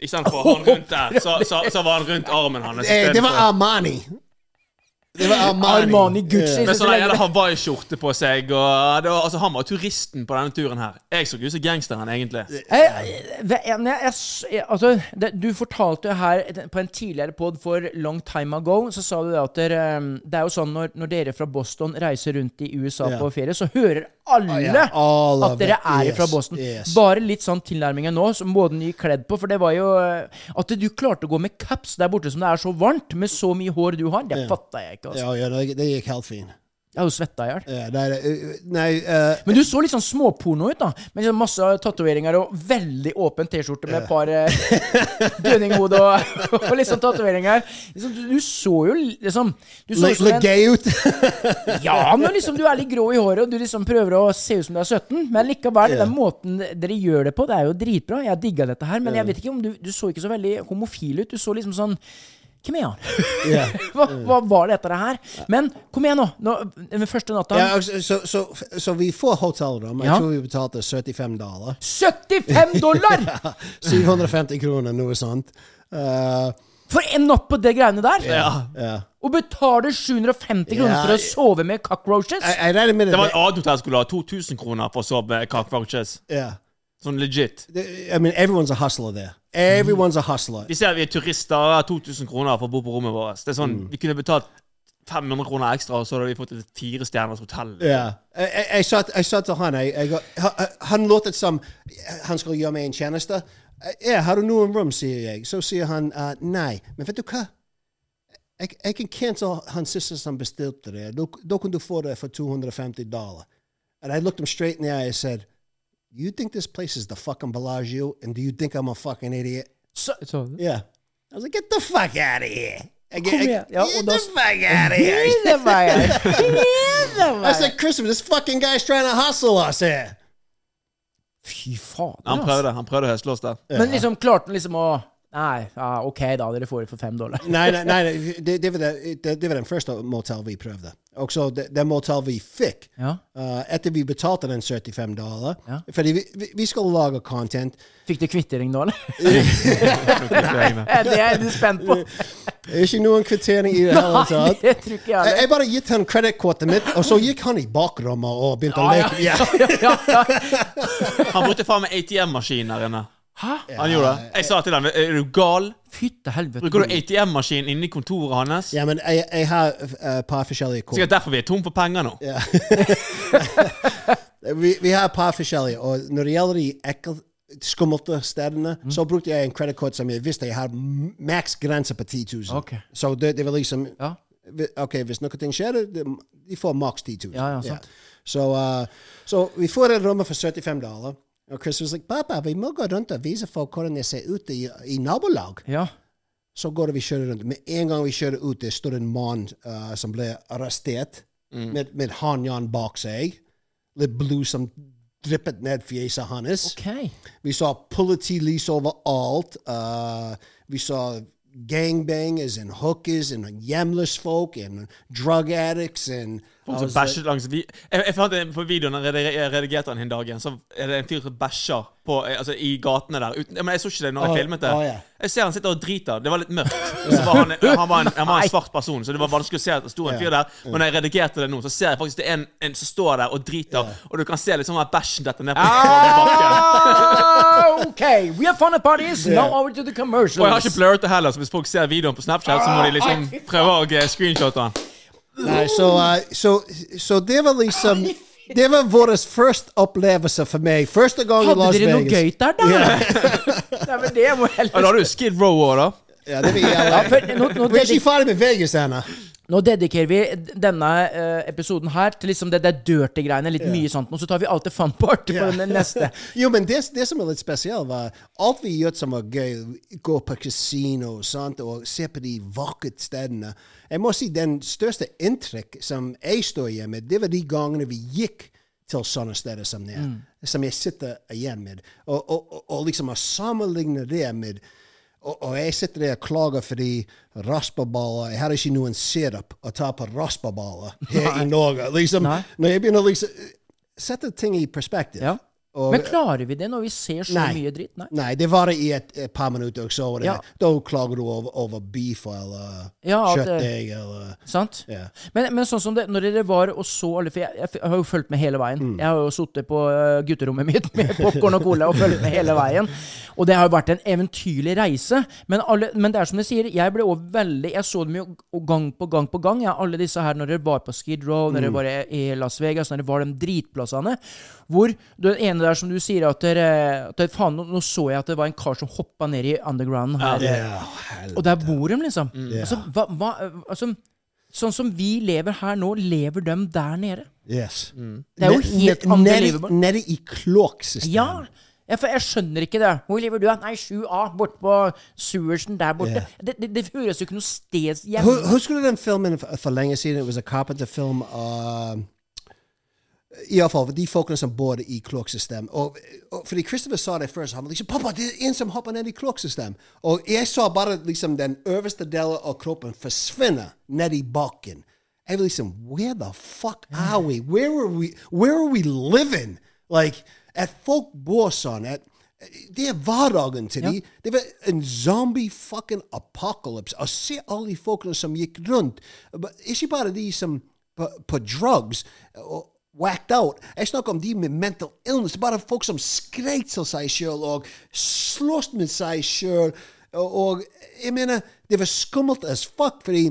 Speaker 2: i stedet for han rundt der, så, så, så var han rundt armen hans.
Speaker 4: Eh,
Speaker 2: i
Speaker 4: det
Speaker 2: stedet
Speaker 4: var
Speaker 2: for-
Speaker 4: Armani. Det var Armani. Eh,
Speaker 3: Armani Gucci.
Speaker 2: Med
Speaker 3: så
Speaker 2: sånn
Speaker 3: lenge-
Speaker 2: jævla Hawaii-skjorte på seg. Og det var, altså, han var turisten på denne turen her. Jeg så ikke ut som gangsteren, egentlig.
Speaker 3: Jeg, det ene jeg, jeg, s- jeg Altså, det, du fortalte jo her et- på en tidligere pod for long time ago, så sa du det at dere, um, det er jo sånn når, når dere fra Boston reiser rundt i USA
Speaker 4: Ja. Ah,
Speaker 3: på ferie, så hører alle
Speaker 4: ja, all
Speaker 3: at
Speaker 4: of
Speaker 3: dere
Speaker 4: it.
Speaker 3: er fra
Speaker 4: Yes,
Speaker 3: Boston.
Speaker 4: yes.
Speaker 3: Bare litt sånn tilnærmingen nå, som måten de gikk kledd på, for det var jo eh, At du klarte å gå med caps der borte som det er så varmt, med så mye hår du har, det
Speaker 4: Ja.
Speaker 3: fatta jeg ikke, altså.
Speaker 4: Ja, ja, det, det gikk helt fint.
Speaker 3: Jeg har jo svetta i hjel.
Speaker 4: Ja, nei, det- nei eh,
Speaker 3: Men du så litt sånn småporno ut, da. Med sånn masse tatoveringer og veldig åpen T-skjorte med et par eh, dødninghode og, og litt sånn tatoveringer. Liksom, du, du så jo liksom du så
Speaker 4: Look
Speaker 3: ut som en-
Speaker 4: look gay ut.
Speaker 3: Ja, men liksom du er litt grå i håret, og du liksom prøver å se ut som du er 17. Men likevel, den måten dere gjør det på, det er jo dritbra. Jeg digga dette her, men jeg vet ikke om du, du så ikke så veldig homofil ut. Du så liksom sånn Hvem er han?
Speaker 4: Ja.
Speaker 3: Hva, hva var dette her? Men kom igjen, nå. nå den første natta.
Speaker 4: Ja, altså, så, så, så vi får hotellrom. Jeg
Speaker 3: Ja.
Speaker 4: tror vi betalte 75 dollar.
Speaker 3: 75 dollar!
Speaker 4: 750 kroner, noe sånt. Eh,
Speaker 3: For en natt på det greiene der!
Speaker 4: ja.
Speaker 3: Og betaler 750 kroner
Speaker 4: Ja,
Speaker 3: for å
Speaker 4: jeg-
Speaker 3: sove med cockroaches!
Speaker 4: Jeg jeg regner med det.
Speaker 2: Det var et annet hotell som skulle ha 2000 kroner for å sove cockroaches.
Speaker 4: Ja.
Speaker 2: Sånn legit.
Speaker 4: Det- I mean, everyone's a hustler there. Everyone's a hustler.
Speaker 2: De ser vi er turister og har 2000 kroner for å bo på rommet vårt. Det er
Speaker 4: Mm.
Speaker 2: sånn, Vi kunne betalt 500 kroner ekstra, og så hadde vi fått et firestjerners hotell.
Speaker 4: Ja. Jeg, jeg, jeg, sa, jeg sa til han jeg, jeg, går- ha- Han låtet som han skulle gjøre meg en tjeneste. Eh, Ja, har du noen rom, sier jeg. Så sier han eh, nei. Men vet du hva? Jeg, jeg kan cancel han siste som bestilte det. Da da kan du få det for 250 dollar. And I looked him straight in the eye and said, You think this place is the fucking Bellagio? And do you think I'm a fucking idiot?
Speaker 3: Så,
Speaker 4: Yeah. I was like, Get the fuck out of here. I get,
Speaker 3: Kom
Speaker 4: I-
Speaker 3: igjen. Ja,
Speaker 4: get
Speaker 3: og da-
Speaker 4: the fuck out of here.
Speaker 3: Det var jeg. Det var
Speaker 4: I
Speaker 3: jeg.
Speaker 4: said, Christopher, this fucking guy's trying to hustle us here.
Speaker 3: Fy fader, altså.
Speaker 2: Han prøvde han prøvde å høsle oss der.
Speaker 3: Men liksom klarte han liksom å Nei, ja, OK, da. Dere får det for fem dollar.
Speaker 4: Nei, nei, nei, nei det, det, var det, det, det var den første motel vi prøvde. Og så det, det motel vi fikk.
Speaker 3: Ja.
Speaker 4: eh, etter vi betalte den 75 dollar.
Speaker 3: Ja.
Speaker 4: Fordi vi, vi, vi skal lage content.
Speaker 3: Fikk du kvittering nå, eller? det er jeg litt spent på.
Speaker 4: er Ikke noen kvittering i det hele
Speaker 3: Nei,
Speaker 4: tatt.
Speaker 3: det tror ikke jeg
Speaker 4: Jeg,
Speaker 3: heller.
Speaker 4: jeg bare gitt han kredittkortet mitt, og så gikk han i bakrommet og begynte å
Speaker 3: Ja,
Speaker 4: leke.
Speaker 3: ja,
Speaker 4: Ja.
Speaker 3: ja, ja, ja.
Speaker 2: Han brukte faen meg ATM-maskin der inne.
Speaker 3: Hæ?
Speaker 2: Han gjorde det. Jeg sa til ham er du gal?
Speaker 3: Fytte helvete.
Speaker 2: Bruker du ATM-maskin inni kontoret hans?
Speaker 4: ja, men jeg, jeg har et par forskjellige kort.
Speaker 2: Sikkert derfor vi er tom for penger nå.
Speaker 4: Vi, vi har et par forskjellige, og når det gjelder de ekkel, skummelte stedene,
Speaker 3: Mhm.
Speaker 4: så brukte jeg en kredittkort som jeg visste jeg har m- maks grense på 10 000.
Speaker 3: Ok.
Speaker 4: Så det, det var liksom
Speaker 3: Ja.
Speaker 4: vi- Ok, hvis noe ting skjer, det- de får maks 10 000.
Speaker 3: Ja, ja, sant.
Speaker 4: Så, uh, så vi får et rom for 75 dollar. Og Chris was like, pappa, vi må gå rundt og vise folk hvordan det ser ut i, i nabolag.
Speaker 3: Ja.
Speaker 4: Så går det vi kjører rundt. Med en gang vi kjører ut, det står en mann uh, som ble arrestert
Speaker 3: Mm.
Speaker 4: med, med håndjern bak seg. Litt blod som drippet ned fjeset hans.
Speaker 3: OK.
Speaker 4: Eh, Vi så politi lys overalt. Uh, vi så gangbangers and hookers and yemlish folk and drug addicts and
Speaker 2: Folk
Speaker 4: I
Speaker 2: som
Speaker 4: was like-
Speaker 2: bæsjer langs vi Jeg, jeg fant en på videoen jeg rediger- jeg redigerte den en dag igjen, så er det en fyr som bæsjer på, eh, altså, i gatene der. Uten, men jeg så ikke det når jeg
Speaker 4: Å,
Speaker 2: filmet det.
Speaker 4: å, ja.
Speaker 2: Jeg ser han sitter og driter. Det var litt mørkt. Og så var han, han, var en, han var en svart person, så det var vanskelig å se at det sto en fyr der. Men når jeg redigerte det nå, så ser jeg faktisk det er en, en som står der og driter, og du kan se liksom at bæsjen detter ned på
Speaker 3: Ah, okay, we have fun at parties. Now over to the commercials.
Speaker 2: Og jeg har ikke blurret det heller, så hvis folk ser videoen på Snapchat, så må de liksom prøve å eh, screenshotte den.
Speaker 4: Nei, så, eh, så, så det var liksom Det var vår første opplevelse for meg. Første gang i
Speaker 3: Hadde
Speaker 4: Las Vegas.
Speaker 3: dere noe gøy der, da? Nei, men det må jeg
Speaker 2: Og da har du Skid Row òg, da.
Speaker 4: Ja, det var jævla.
Speaker 3: Ja, for nå- nå-
Speaker 4: Vi er ikke ferdig med Vegas ennå.
Speaker 3: Nå dedikerer vi denne eh, episoden her til liksom det der dirty greiene. Litt mye sånt. Og så tar vi alt det fun part på den neste.
Speaker 4: Jo, men det, det som er litt spesielt, var alt vi gjør som er gøy, gå på kasino sant, og se på de vakre stedene. Jeg må si den største inntrykk som jeg står igjen med, det var de gangene vi gikk til sånne steder som det.
Speaker 3: Mm.
Speaker 4: Som jeg sitter igjen med. Og, og, og, og liksom å sammenligne det med og, og jeg sitter der og klager fordi raspeballer Jeg har ikke noen sirup å ta på raspeballer her i Norge. Liksom,
Speaker 3: Nei.
Speaker 4: når jeg begynner å liksom, sette ting i perspektiv
Speaker 3: Ja.
Speaker 4: og-
Speaker 3: Men klarer vi det når vi ser så
Speaker 4: Nei.
Speaker 3: mye dritt? Nei.
Speaker 4: Nei, det varer i et, et par minutter, og så var det,
Speaker 3: Ja.
Speaker 4: da klager du over, over beef eller
Speaker 3: Ja, at det-
Speaker 4: kjøttdeig eller
Speaker 3: Sant?
Speaker 4: Ja.
Speaker 3: Men, men sånn som det, når dere var og så alle For jeg, jeg, f- har jo fulgt med hele veien. Jeg har jo sittet på øh, gutterommet mitt med popkorn og cola og fulgt med hele veien. Og det har jo vært en eventyrlig reise. Men, alle, men det er som dere sier, jeg ble også veldig Jeg så dem jo g- gang på gang på gang. Ja, alle disse her når dere var på Skid Row, når dere var i i Las Vegas, når dere var de dritplassene. Hvor den ene der som du sier at dere, at dere Faen, nå, nå så jeg at det var en kar som hoppa ned i undergrounden her. Og der bor de, liksom.
Speaker 2: Mm.
Speaker 3: Altså, hva, hva, altså, sånn som vi lever her nå, lever de der nede.
Speaker 4: Yes.
Speaker 3: Mm. Det er jo
Speaker 4: Ne-
Speaker 3: helt
Speaker 4: ne-
Speaker 3: unbelievable.
Speaker 4: nedi- Nedi i kloakksystemet.
Speaker 3: Ja! Jeg, for jeg skjønner ikke det. Hvor lever du? da? Nei, 7A, borte på Sewersen der borte. Det, det, det høres jo ikke noe sted hjemme.
Speaker 4: Hu- Husker du den filmen for, for lenge siden? Det var en Carpenter-film. Uh, Iallfall de folkene som bor i kloakksystemet. Og, og fordi uh, Christopher sa det først. Han var liksom 'Pappa, det er en som hopper ned i kloakksystem'. Og jeg så bare liksom den øverste delen av kroppen forsvinne ned i bakken. Jeg var liksom Where the fuck are we? Where are we, where are we living? Like, at folk bor sånn at det er hverdagen til de. Det var en zombie-fucking-apocalypse. Å se alle de folkene som gikk rundt. Ba- Ikke bare de som på, på um, drugs og whacked out. Jeg snakker om de med mental illness. Bare folk som skrek til seg sjøl og sloss med seg sjøl. Og, og jeg mener, det var skummelt as fuck, fordi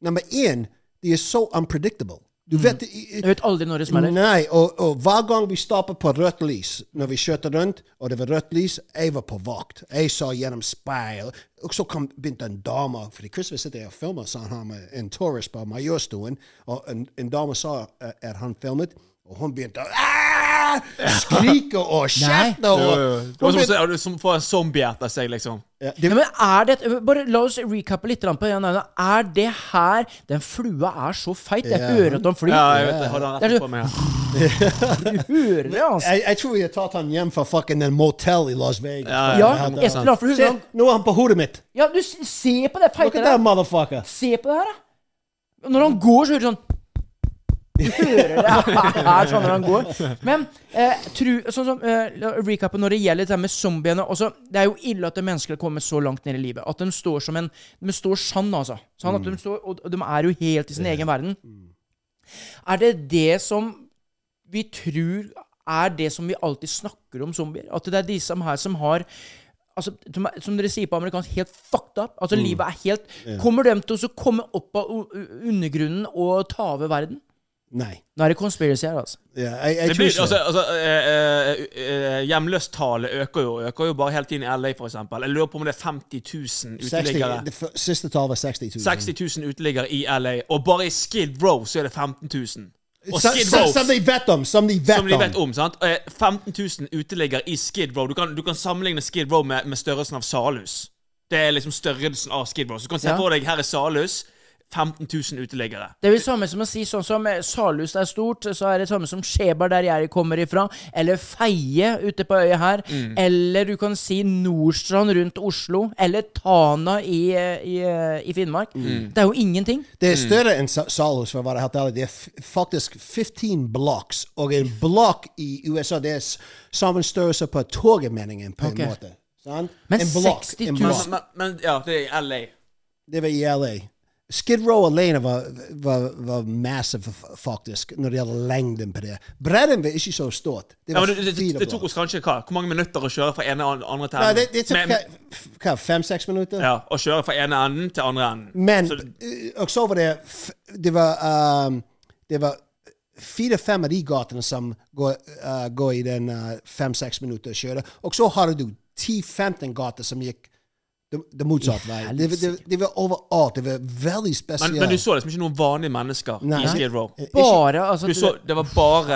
Speaker 4: nummer én, de er så unpredictable. Du vet i- i-
Speaker 3: Jeg vet aldri når det smeller.
Speaker 4: Nei, og, og hver gang vi stoppet på rødt lys, når vi kjørte rundt, og det var rødt lys, jeg var på vakt. Jeg så gjennom speil. Og så kom, begynte en dame, fordi Christopher sitter her og filmer, sa han med en tourist på Majorstuen, og en, en dame sa eh, at han filmet, og hun begynte å "Ah!" skrike og kjefte.
Speaker 2: Jo,
Speaker 4: og-
Speaker 2: jo, jo. Det var som, å se- du som får en zombie etter seg, liksom.
Speaker 4: Ja, det-
Speaker 3: Ja, men er det, bare La oss recappe litt på Jan Einar. Er det her Den flua er så feit. Jeg hører at den flyr.
Speaker 2: Ja, jeg vet det. Jeg Hadde han
Speaker 3: Det er
Speaker 2: rett
Speaker 3: så-
Speaker 2: på meg? ja.
Speaker 3: Du hører det, altså.
Speaker 4: Jeg, jeg tror vi har tatt han hjem fra fucking en motel i Las Vegas.
Speaker 2: Ja,
Speaker 3: Ja,
Speaker 4: Han hadde-
Speaker 3: et eller annet for
Speaker 4: Se,
Speaker 3: huset.
Speaker 4: nå er han på hodet mitt.
Speaker 3: Ja, du, s- se på det
Speaker 4: Look
Speaker 3: feite
Speaker 4: at
Speaker 3: der.
Speaker 4: that motherfucker.
Speaker 3: Se på det her, da. Når han går, så hører du sånn Du hører det her sånn når han går. Men eh, tru, sånn som eh, la- recappen når det gjelder det her med zombiene også, Det er jo ille at mennesker kommer så langt ned i livet. At de står som en De står sann, altså. Sånn at de står, og og de er jo helt mm. i sin egen verden. Er det det som vi tror er det som vi alltid snakker om zombier? At det er de som her som har Altså, som er- som dere sier på amerikansk, helt fucked up. Altså,
Speaker 2: Mm.
Speaker 3: livet er helt Kommer de til å så komme opp av u- u- undergrunnen og ta over verden?
Speaker 4: Nei.
Speaker 3: Nå er det conspiracy her, altså.
Speaker 4: Ja, jeg, jeg
Speaker 2: Det
Speaker 4: tror
Speaker 2: blir,
Speaker 4: ikke.
Speaker 2: altså, altså, eh, eh, eh, Hjemløstallet øker jo øker jo bare hele tiden i LA, for eksempel. Jeg lurer på om det er 50 000 uteliggere.
Speaker 4: 60, det f- siste tallet var 60 000.
Speaker 2: 60 000 uteliggere i LA, og bare i Skid Row så er det 15 000. Og
Speaker 4: Som-
Speaker 2: Skid
Speaker 4: som-
Speaker 2: Row,
Speaker 4: Som de vet om! Som de vet
Speaker 2: som de vet
Speaker 4: om!
Speaker 2: om, sant? Eh, 15 000 uteliggere i Skid Row. Du kan, du kan sammenligne Skid Row med, med størrelsen av Salhus. Det er liksom størrelsen av Skid Row. Så du kan se
Speaker 3: Ja.
Speaker 2: for deg, her er Salhus. 15 000 uteliggere.
Speaker 3: Det er vel samme som å si sånn som eh, Salhus er stort, så er det samme som Skjebar der jeg kommer ifra, eller Feie ute på øya her,
Speaker 2: Mm.
Speaker 3: eller du kan si Nordstrand rundt Oslo, eller Tana i, eh, i, eh, i Finnmark.
Speaker 4: Mm.
Speaker 3: Det er jo ingenting.
Speaker 4: Det
Speaker 2: Mm.
Speaker 4: er større enn Sa- Salhus, for å være helt ærlig. Det er f- faktisk 15 blocks, og en blokk i USA det er s- samme størrelse på togmeningen, på
Speaker 2: Ok.
Speaker 4: en måte. Sant?
Speaker 2: Men
Speaker 4: en blokk,
Speaker 2: 60
Speaker 4: en
Speaker 2: 000
Speaker 4: blokk.
Speaker 2: men, men, men ja, det er i LA.
Speaker 4: Det var i LA. Skid Row alene var, var, var massive, f- faktisk, når det gjelder lengden på det. Bredden var ikke så stort. Det
Speaker 2: Ja,
Speaker 4: var
Speaker 2: men det, det, det,
Speaker 4: fire
Speaker 2: det tok
Speaker 4: blokk.
Speaker 2: oss kanskje hva? Hvor mange minutter å kjøre fra ene an- andre til
Speaker 4: Nei, det, det
Speaker 2: Men-
Speaker 4: tok hva- hva, fem-seks minutter?
Speaker 2: Ja, å kjøre fra ene enden til andre enden.
Speaker 4: Men
Speaker 2: Så-
Speaker 4: eh, og så var det f- Det var, ehm, det var fire-fem av de gatene som går, eh, går i den fem-seks minutter å kjøre. Og så har du 10-15 gater som gikk det, det motsatte vei. Det, var- det, det var overalt. Det var veldig spesielt.
Speaker 2: Men, men du så liksom ikke noen vanlige mennesker
Speaker 4: Nei.
Speaker 2: i Skid Row?
Speaker 4: Ikke- Bare,
Speaker 3: altså,
Speaker 2: du så, Det var bare,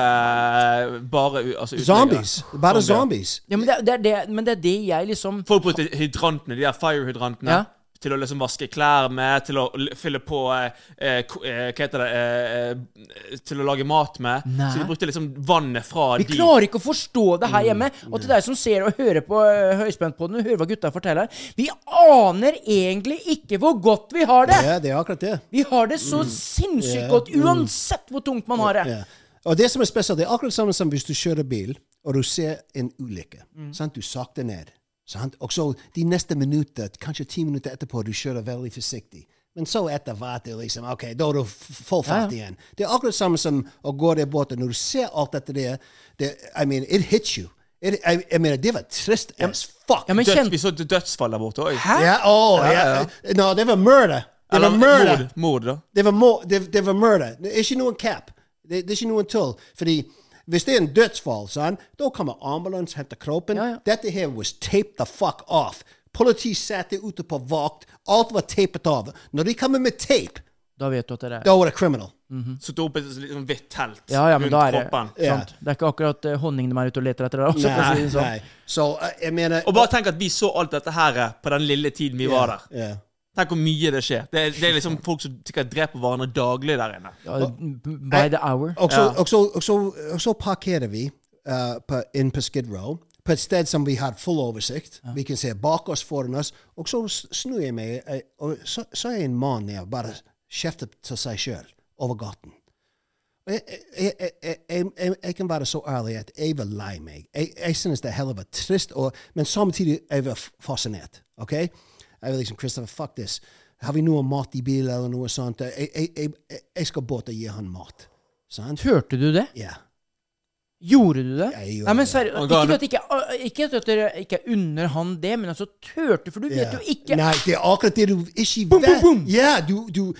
Speaker 2: bare u- altså, uteliggere.
Speaker 4: Zombies. Bare zombies.
Speaker 3: Ja, men, det, det er det, men det er det jeg liksom
Speaker 2: Folk brukte hydrantene, de der fire-hydrantene.
Speaker 3: Ja.
Speaker 2: Til å liksom vaske klær med, til å l- fylle på eh, eh, ko- eh, Hva heter det eh, eh, Til å lage mat med.
Speaker 3: Nei.
Speaker 2: Så de brukte liksom vannet fra
Speaker 3: Vi
Speaker 2: de
Speaker 3: klarer ikke å forstå det
Speaker 4: Mm,
Speaker 3: her hjemme. Og til deg som ser og hører på eh, Høyspentpodden, og hører hva gutta forteller Vi aner egentlig ikke hvor godt vi har det!
Speaker 4: Ja, det er akkurat det.
Speaker 3: Vi har det så sinnssykt
Speaker 4: Ja.
Speaker 3: godt,
Speaker 4: Mm.
Speaker 3: uansett hvor tungt man har det.
Speaker 4: Ja. Og det som er spesielt, det er akkurat samme som hvis du kjører bil, og du ser en ulykke. Sant? Du sakter ned. Sant? Og så de neste minutter, kanskje ti minutter etterpå, du kjører veldig forsiktig. Men så etter hvert det er liksom, ok, da er du f- full fart igjen. Det er akkurat samme som å gå der borte. Når du ser alt dette der, det, I mean, it hits you. It, I, I mean, det var trist as fuck.
Speaker 2: Døds- Vi så dødsfall der borte òg.
Speaker 4: Ja, åh, ja, No, det var murder. Det var
Speaker 2: Eller
Speaker 4: murder.
Speaker 2: mord, mord, da.
Speaker 4: Det var, må, det, det var murder. Det er ikke noen cap. Det, det er ikke noen tull. Fordi hvis det er en dødsfall, sånn, da kommer ambulanse, henter kroppen. Dette her was taped the fuck off. Politi satt ute på vakt. Alt var tapet av. Når de kommer med tape,
Speaker 3: Da vet du at det er
Speaker 4: da var det criminal.
Speaker 2: Så tok opp et liksom, hvitt telt
Speaker 3: Ja, ja, men da er det
Speaker 2: kroppen.
Speaker 3: sant. Det er ikke akkurat eh, honning de er ute og leter etter der. også, for å si det sånn.
Speaker 4: Så eh, jeg mener
Speaker 2: Og bare tenk at vi så alt dette her eh, på den lille tiden vi var der.
Speaker 4: Ja.
Speaker 2: Tenk hvor mye det skjer. Det, er- det er liksom folk som sikkert dreper hverandre daglig der inne.
Speaker 3: Eh, By the hour.
Speaker 4: Og så,
Speaker 2: Ja.
Speaker 4: og så, og så, og så parkerer vi eh, på, inn på Skid Row, på et sted som vi har full oversikt. Vi kan se bak oss, foran oss. Og så s- snur jeg meg, eh, og så, så er en mann der bare kjefter til seg sjøl over gaten. Og Jeg, jeg, jeg, jeg, jeg, jeg, jeg kan være så ærlig at jeg var lei meg. Jeg, jeg synes det hele var trist, og, men samtidig jeg var f- fascinert. ok? Jeg var liksom Christopher, fuck this. Har vi noe mat i bilen, eller noe sånt? Jeg, jeg, jeg, jeg- jeg skal bort og gi han mat. Sant?
Speaker 3: Hørte du det?
Speaker 4: Ja.
Speaker 3: Gjorde du det?
Speaker 4: Jeg gjorde
Speaker 3: Nei, men
Speaker 4: det.
Speaker 3: seriøst,
Speaker 4: Og
Speaker 3: ikke
Speaker 4: da-
Speaker 3: at ikke, eh, ikke at dere ikke unner han det, men altså turte, for du vet jo
Speaker 4: Ja.
Speaker 3: ikke
Speaker 4: Nei, det er akkurat det du ikke vet. Ja, du, du,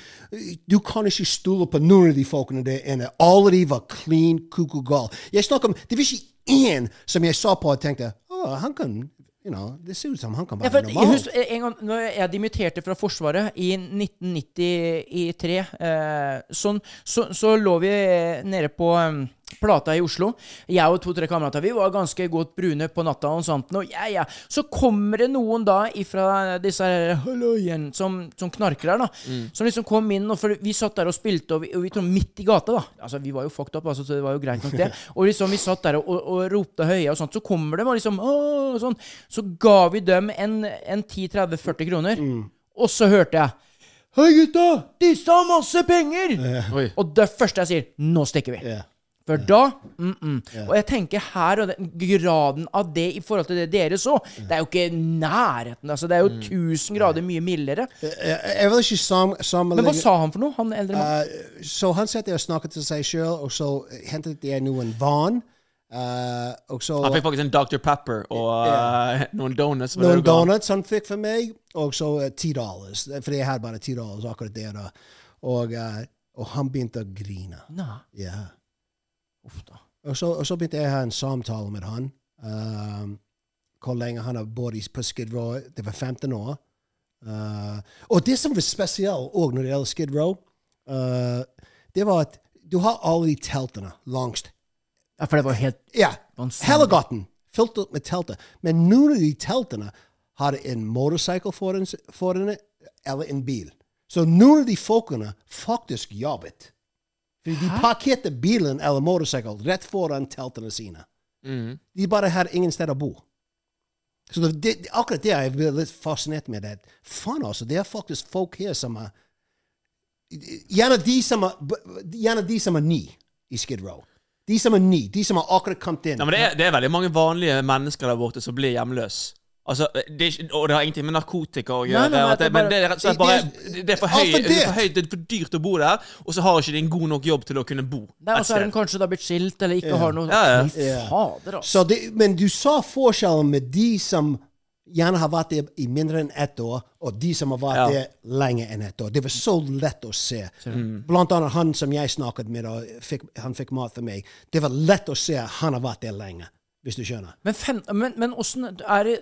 Speaker 4: du kan ikke stole på noen av de folkene der inne. Alle de var clean koko gal. Jeg snakker om, Det var ikke én som jeg så på og tenkte oh, han kan, you know, Det ser ut som han kan
Speaker 3: Ja,
Speaker 4: være
Speaker 3: for at-
Speaker 4: normal.
Speaker 3: husk, eh, en gang når jeg dimitterte fra Forsvaret i 1993, eh, sånn, så, så lå vi eh, nede på eh, Plata i Oslo. Jeg og to-tre kamerater vi var ganske godt brune på natta. og sånt, og ja, ja. Så kommer det noen da ifra disse her halloien som, som knarker her. da,
Speaker 5: Mm.
Speaker 3: Som liksom kom inn, og for vi satt der og spilte, og vi, og vi kom midt i gata. da, altså Vi var jo fucked up, altså, så det var jo greit nok, det. Og liksom vi satt der og, og, og ropte høye og sånt. Så kommer de og liksom Åh, og sånn. Så ga vi dem en, en 10-30-40 kroner. Og så hørte jeg Hei, gutta! Disse har masse penger! Og det første jeg sier, nå stikker vi. For da mm -mm. Og jeg tenker her og den graden av det i forhold til det dere så, det er jo ikke nærheten. altså Det er jo 1000 grader mye mildere.
Speaker 4: Jeg, jeg vil ikke sam, sammenligne
Speaker 3: Men hva sa han for noe, han eldre mannen?
Speaker 4: Eh, så han satt der og snakket til seg sjøl, og så hentet jeg noen vann. eh, og så
Speaker 2: Han fikk faktisk en Dr. Pepper og eh, noen donuts. men
Speaker 4: Noen
Speaker 2: det var galt.
Speaker 4: donuts han fikk for meg, og så eh, 10 dollars. For jeg hadde bare 10 dollars akkurat der. da. Og, eh, og han begynte å grine.
Speaker 3: Nei.
Speaker 4: Ja. Og så, og så begynte jeg å ha en samtale med han. Um, hvor lenge han har bodd i- på Skid Row. Det var 15 år. Uh, og det som var spesielt òg når det gjelder Skid Row, uh, det var at du har alle de teltene langs
Speaker 3: Ja, for det var helt
Speaker 4: Ja.
Speaker 3: vansinnig.
Speaker 4: Hele gaten fylt opp med telter. Men noen av de teltene har en motorcycle foran, foran det, eller en bil. Så noen av de folkene faktisk jobbet. Fordi de parkerte bilen eller motorsykkelen rett foran teltene sine.
Speaker 2: Mm.
Speaker 4: De bare har ingen sted å bo. Så det, det, akkurat det jeg blir litt fascinert med. det. Faen, altså. Det er faktisk folk her som er Gjerne de som er, gjerne de som er ny i Skid Row. De som er ny, de som har akkurat kommet inn.
Speaker 2: Nei, men det er, det er veldig mange vanlige mennesker der borte som blir hjemløse. Altså, det er, ikke- og det har ingenting med narkotika å
Speaker 4: Nei,
Speaker 2: gjøre.
Speaker 4: nei, nei,
Speaker 2: og
Speaker 4: det er
Speaker 2: det, men
Speaker 4: bare-
Speaker 2: det er rett og slett
Speaker 4: det-
Speaker 2: bare
Speaker 4: det er-
Speaker 2: Det er for
Speaker 4: alt
Speaker 2: høy-
Speaker 4: for
Speaker 2: det er
Speaker 4: dyrt.
Speaker 2: for høyt, det er for dyrt å bo der, og så har ikke de en god nok jobb til å kunne bo.
Speaker 3: Nei, og
Speaker 2: et
Speaker 3: så har
Speaker 2: sted.
Speaker 3: de kanskje da blitt skilt, eller ikke
Speaker 2: Ja.
Speaker 3: har noe
Speaker 2: Ja, ja.
Speaker 3: Fy fader, altså.
Speaker 4: Så det, men du sa forskjellen med de som gjerne har vært der i mindre enn ett år, og de som har vært
Speaker 2: Ja.
Speaker 4: der lenge enn ett år. Det var så lett å se.
Speaker 2: Mm.
Speaker 4: Blant annet han som jeg snakket med, og fikk, han fikk mat for meg. Det var lett å se han har vært der lenge, hvis du skjønner.
Speaker 3: Men, fem, men, men åssen er det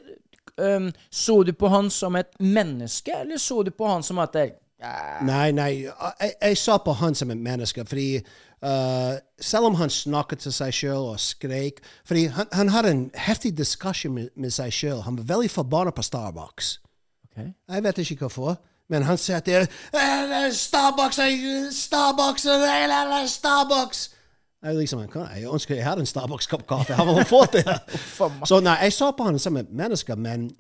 Speaker 3: øhm, Så du på han som et menneske, eller så du på han som at det,
Speaker 4: Nei, nei, jeg, jeg sa på han som et menneske, fordi eh, selv om han snakket til seg selv og skrek, fordi han, han hadde en heftig diskusjon med, med seg selv, han var veldig forbannet på Starbucks. Jeg vet ikke hvorfor, men han sier at det er "Eh, Starbucks, eh, Starbucks, eh, la, la, Starbucks. Jeg liksom, jeg kan- jeg ønsker jeg hadde en Starbucks-kopp kaffe. Jeg har vel fått det. Så nei, jeg så på han som et menneske, men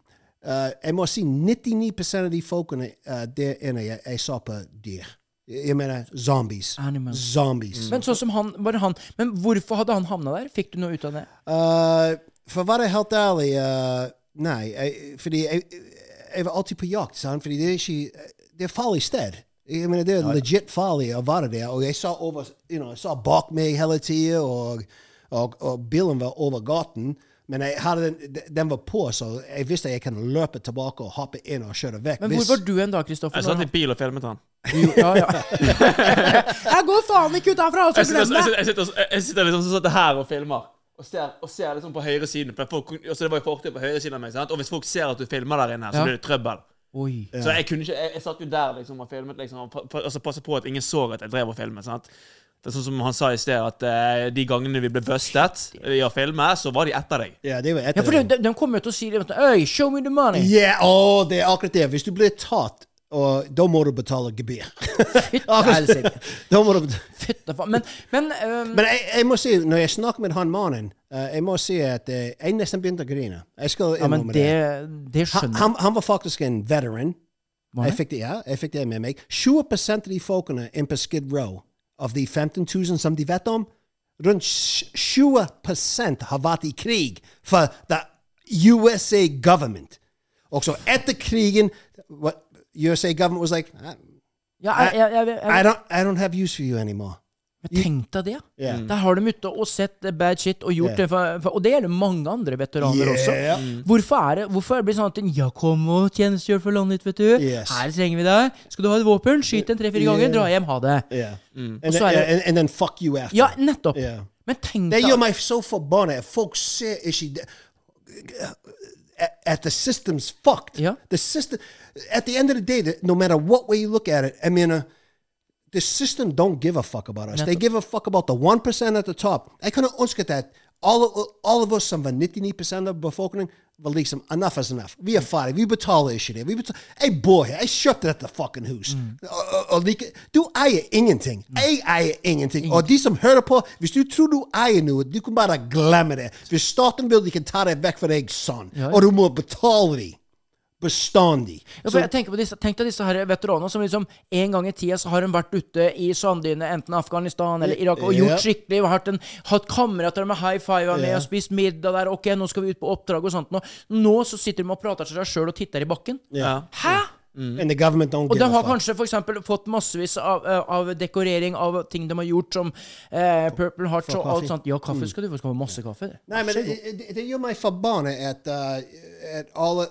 Speaker 4: eh, jeg må si 99 av de folkene eh, der inne jeg, jeg så på dyr. Jeg mener eh, zombies. Zombies.
Speaker 3: Men sånn som han, bare han Men hvorfor hadde han havna der? Fikk du noe ut av det?
Speaker 4: Eh, for å være helt ærlig eh, Nei. Jeg, fordi jeg, jeg var alltid på jakt, sant? fordi det er ikke Det er et farlig sted. Jeg mener, det er
Speaker 5: Ja, ja.
Speaker 4: legit farlig å være der. Og jeg så, over, you know, jeg så bak meg hele tida, og, og, og bilen var over gaten. Men jeg hadde den, den var på, så jeg visste jeg kunne løpe tilbake og hoppe inn og kjøre vekk.
Speaker 3: Men hvor var du en dag, Kristoffer?
Speaker 2: Jeg satt i bil og filmet han.
Speaker 3: Ja, ja. Jeg går faen ikke ut herfra!
Speaker 4: altså,
Speaker 2: Jeg sitter, jeg, sitter, jeg, sitter, jeg sitter liksom sånn sånn her og filmer. Og ser, og ser liksom på høyre siden. For folk, altså det var jo fortid på høyre siden av meg, sant? Og hvis folk ser at du filmer der inne, så
Speaker 3: Ja.
Speaker 2: blir det trøbbel.
Speaker 3: Oi.
Speaker 2: Så jeg kunne ikke Jeg, jeg satt jo der liksom og filmet liksom, og pa- pa- altså, passa på at ingen så at jeg drev og filmet. sant? Det er sånn som han sa i sted, at eh, de gangene vi ble bustet i å filme, så var de etter deg.
Speaker 4: Ja, det var
Speaker 3: Ja, for de, de, de kommer jo til å si det. vet du, Øy, show me the money!
Speaker 4: Ja, å, det er akkurat det. Hvis du blir tatt, og, da må du betale gebyr.
Speaker 3: helsike.
Speaker 4: da må du betale.
Speaker 3: Fytte faen. Men, men øhm,
Speaker 4: Men jeg, jeg må si, når jeg snakker med han mannen, eh, jeg må si at eh, jeg nesten begynte å grine. Jeg skal
Speaker 3: Ja, men
Speaker 4: innrømme
Speaker 3: det,
Speaker 4: det.
Speaker 3: det skjønner
Speaker 4: Han, han, han var faktisk en veteran.
Speaker 3: Var
Speaker 4: Jeg
Speaker 3: han?
Speaker 4: fikk det, ja, jeg fikk det med meg. 20 av de folkene inne på Skid Row, av de 15 000 som de vet om, rundt sj- 20 har vært i krig for the USA government. Og så etter krigen what, USA government was like, I,
Speaker 3: Ja, jeg, jeg, jeg, jeg,
Speaker 4: I, don't, I don't have use for you anymore.
Speaker 3: Men tenk deg det.
Speaker 4: Ja.
Speaker 3: Der har de ute og sett eh, bad shit og gjort
Speaker 4: Ja.
Speaker 3: det. For, for, og det gjelder mange andre veteraner
Speaker 4: Yeah.
Speaker 3: også.
Speaker 4: Mm.
Speaker 3: Hvorfor er det hvorfor er det blitt sånn at en, Ja, kom og tjenestegjør for landet ditt, vet du.
Speaker 4: Yes.
Speaker 3: Her trenger vi deg. Skal du ha et våpen? Skyt en tre-fire ganger,
Speaker 4: Yeah.
Speaker 3: dra hjem, ha det.
Speaker 4: Yeah.
Speaker 3: Og
Speaker 4: And,
Speaker 3: så er
Speaker 4: then,
Speaker 3: det
Speaker 4: and, and then fuck you after.
Speaker 3: Ja, nettopp.
Speaker 4: Yeah.
Speaker 3: Men tenk
Speaker 4: Det
Speaker 3: deg
Speaker 4: gjør meg så forbanna. Folk ser ikke det- At the system's fucked. The system, at the end of the day, the- no matter what way you look at it, I mean, uh, the system don't give a fuck about us. They
Speaker 5: Nettopp.
Speaker 4: give a fuck about the 1% at the top. Jeg kunne ønske at all, of- all of us som var 99% av befolkningen, var liksom enough is enough. Vi er ferdige. Vi betaler ikke det. Vi betaler. Jeg bor her. Jeg kjøpte dette fucking Uh, hus. Og, og, og like, du eier ingenting. Jeg eier ingenting. Og de som hører på, hvis du tror du eier noe, du kan bare glemme det. Hvis staten vil, de kan ta det vekk fra deg sånn.
Speaker 3: Ja, ja.
Speaker 4: Og du må betale dem. Bestandig.
Speaker 3: Ja, for
Speaker 4: Så-
Speaker 3: jeg tenker på disse, tenk deg disse her veteranene som liksom en gang i tida så har de vært ute i sanddyne, enten Afghanistan eller Irak, og
Speaker 4: Ja.
Speaker 3: gjort skikkelig, og hatt, en, hatt kamerater med high five med
Speaker 4: Ja.
Speaker 3: og spist middag der, ok, nå skal vi ut på oppdrag og sånt. Nå, nå så sitter de og prater til seg sjøl og titter i bakken.
Speaker 4: Yeah.
Speaker 3: Hæ?
Speaker 4: And the government don't
Speaker 3: Og
Speaker 4: give
Speaker 3: de
Speaker 4: a
Speaker 3: har
Speaker 4: fuck.
Speaker 3: kanskje for eksempel fått massevis av, eh, av dekorering av ting de har gjort, som eh, Purple Hearts
Speaker 4: Få
Speaker 3: og alt
Speaker 4: kaffe.
Speaker 3: sånt. Ja, kaffe
Speaker 4: Mm.
Speaker 3: skal du få. Skal få masse kaffe. det.
Speaker 4: Nei, men
Speaker 3: Så
Speaker 4: det,
Speaker 3: god.
Speaker 4: det, det gjør meg forbanna at, uh, at alle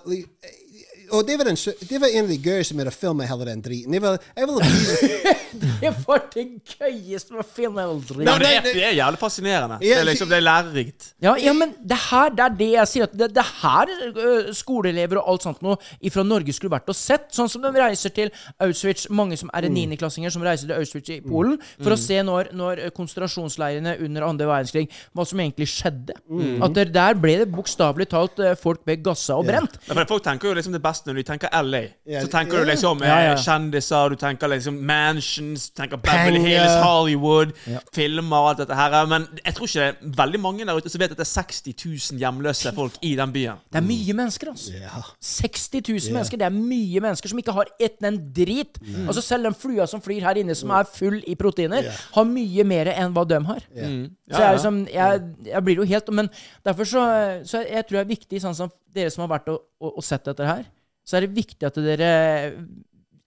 Speaker 4: Og det var, den, sø- det var en av de gøyeste med å filme hele den driten. Det var, jeg vil vise
Speaker 3: Det var det gøyeste med filmen jeg aldri
Speaker 2: Nei, men det, er, det er jævlig fascinerende. Det
Speaker 3: Ja,
Speaker 2: er liksom, det er lærerikt.
Speaker 3: Ja, ja, men det her det er det jeg sier. At det, det her ø, skoleelever og alt sånt noe fra Norge skulle vært og sett. Sånn som de reiser til Auschwitz. Mange som er
Speaker 6: Mm.
Speaker 3: niendeklassinger som reiser til Auschwitz i Polen for
Speaker 6: Mm.
Speaker 3: å se når, når øh, konsentrasjonsleirene under andre verdenskrig Hva som egentlig skjedde.
Speaker 2: Mm.
Speaker 3: At der, der ble det bokstavelig talt ø, øh, folk ble gassa og brent.
Speaker 2: Ja, for folk tenker jo liksom det mest når du tenker LA.
Speaker 1: Ja,
Speaker 2: så tenker
Speaker 1: ja.
Speaker 2: du liksom eh,
Speaker 1: Ja, ja.
Speaker 2: kjendiser, du tenker liksom mansions, du tenker Beverly
Speaker 1: Penger.
Speaker 2: Hills, Hollywood,
Speaker 1: Ja.
Speaker 2: filmer og alt dette her. Men jeg tror ikke det er veldig mange der ute som vet at det er 60 000 hjemløse folk i den byen.
Speaker 3: Det er
Speaker 6: Mm.
Speaker 3: mye mennesker, altså. 60 000
Speaker 2: Ja.
Speaker 3: mennesker. Det er mye mennesker som ikke har ett en drit.
Speaker 2: Mm.
Speaker 3: Altså Selv den flua som flyr her inne, som er full i proteiner,
Speaker 2: Ja.
Speaker 3: har mye mer enn hva de har.
Speaker 2: Ja. Mm.
Speaker 3: Så jeg,
Speaker 2: Ja,
Speaker 3: er
Speaker 2: ja.
Speaker 3: liksom, jeg, jeg blir jo helt Men derfor så, så jeg tror det er viktig, sånn som dere som har vært og, og, og sett dette her, så er det viktig at dere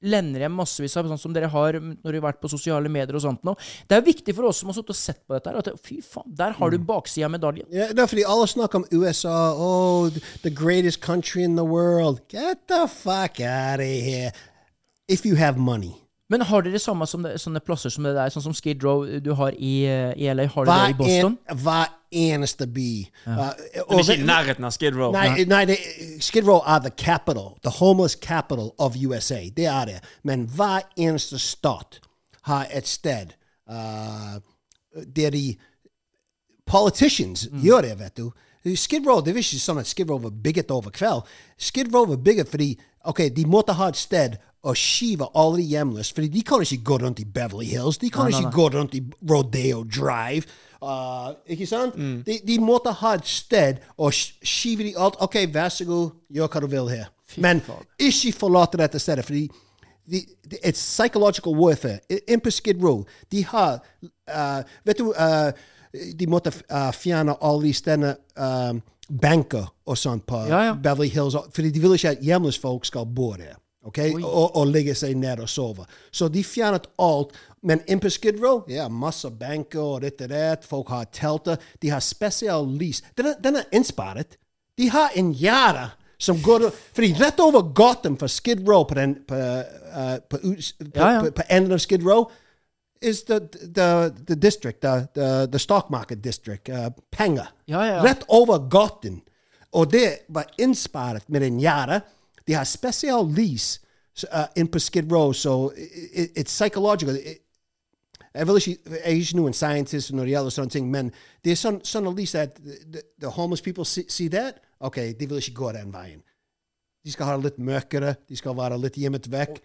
Speaker 3: lender hjem massevis av sånn som dere har når dere har vært på sosiale medier og sånt nå. Det er viktig for oss som har sittet og sett på dette her, at fy faen, der har du
Speaker 2: Mm.
Speaker 3: baksida av medaljen.
Speaker 4: Ja, det er fordi alle snakker om USA. Oh, the greatest country in the world. Get the fuck out of here. If you have money.
Speaker 3: Men har dere samme som det, sånne plasser som det der, sånn som Skid Row du har i, eh, i LA? Har dere det i Boston?
Speaker 4: En, hver eneste by. Uh,
Speaker 2: Men ikke i nærheten av Skid Row.
Speaker 4: Nei, nei det, Skid Row er the capital, the homeless capital of USA. Det er det. Men hver eneste stat har et sted uh, der de Politicians gjør det, vet du. Skid Row, det er ikke sånn at Skid Row var bygget over kveld. Skid Row var bygget fordi ok, de måtte ha et sted å skyve alle de hjemløse, fordi de kan ikke gå rundt i Beverly Hills. De kan
Speaker 3: Nei, nei,
Speaker 4: ikke
Speaker 3: nei.
Speaker 4: gå rundt i Rodeo Drive. Uh, ikke sant? De, de måtte ha et sted å sk- skyve de alt. OK, vær så god, gjør hva du vil her. Men ikke forlate dette stedet, fordi de, de, it's psychological warfare. I- Inn på Skid Row. De har uh, Vet du, uh, de måtte uh, fjerne alle de stedene um, Banker og sånt på
Speaker 3: Ja, ja.
Speaker 4: Beverly Hills. Fordi de vil ikke at hjemløse folk skal bo der. ok? Og, og ligge seg ned og sove. Så de fjernet alt. Men inn på Skid Row, ja, masse banker og dette og det. Folk har telter. De har spesial lys. Den er, den er innsparet. De har en gjerde som går Fordi rett over gaten for Skid Row på, den, på, eh, på, uts- på,
Speaker 3: Ja, ja.
Speaker 4: på, på enden av Skid Row is the, the, the district, the, the, the stock market district, uh, Panga.
Speaker 3: Ja, ja, ja.
Speaker 4: Rett over gaten. Og det var innsparet med en gjerde. De har spesial lys uh, inn på Skid Row, så i- i- it's psychological. I- jeg vil ikke, jeg er ikke noen scientist når det gjelder sånne ting, men det er sånn, sånn at least at the, the homeless people see, see that, ok, de vil ikke gå den veien. De skal ha det litt mørkere, de skal være litt gjemt
Speaker 3: Oh,
Speaker 4: vekk.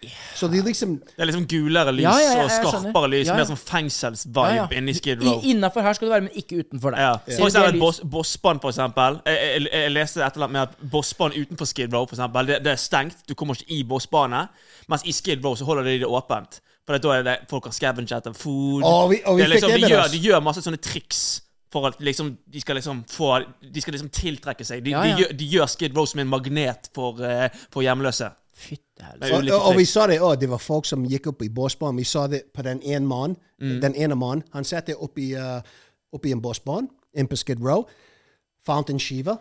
Speaker 4: Så de liksom
Speaker 2: Det er liksom gulere lys
Speaker 4: Ja, ja, ja,
Speaker 2: og
Speaker 4: jeg
Speaker 2: skarpere
Speaker 4: skjønner.
Speaker 2: lys,
Speaker 4: Ja, ja.
Speaker 2: mer sånn fengselsvibe
Speaker 3: Ja, ja.
Speaker 2: inni Skid Row.
Speaker 3: I- Innenfor her skal du være, men ikke utenfor der.
Speaker 2: Ja.
Speaker 3: Ser
Speaker 2: For
Speaker 3: du det
Speaker 2: eksempel
Speaker 3: lys-
Speaker 2: Boss, Bossbanen, for eksempel. Jeg, jeg, jeg leste et eller annet med at Bossbanen utenfor Skid Row, for eksempel, det, det er stengt. Du kommer ikke i Bossbane. Mens i Skid Row så holder de det åpent. For da er det folk har scavenget etter food.
Speaker 4: Og vi- og vi
Speaker 2: Det er liksom,
Speaker 4: fikk det
Speaker 2: de,
Speaker 4: med
Speaker 2: gjør,
Speaker 4: oss.
Speaker 2: de gjør masse sånne triks. For at liksom, de skal liksom få De skal liksom tiltrekke seg. De,
Speaker 4: Ja, ja.
Speaker 2: de, gjør, de gjør Skid Row som en magnet for, eh, for hjemløse. Med
Speaker 4: Og,
Speaker 2: ulike
Speaker 4: og vi
Speaker 2: triks.
Speaker 4: så det òg. Det var folk som gikk opp i båsbanen. Vi så det på den ene mannen.
Speaker 3: Mm.
Speaker 4: Den ene mannen. Han satt der oppe i, eh, oppe i en båsbane inne på Skid Row. Fant en skive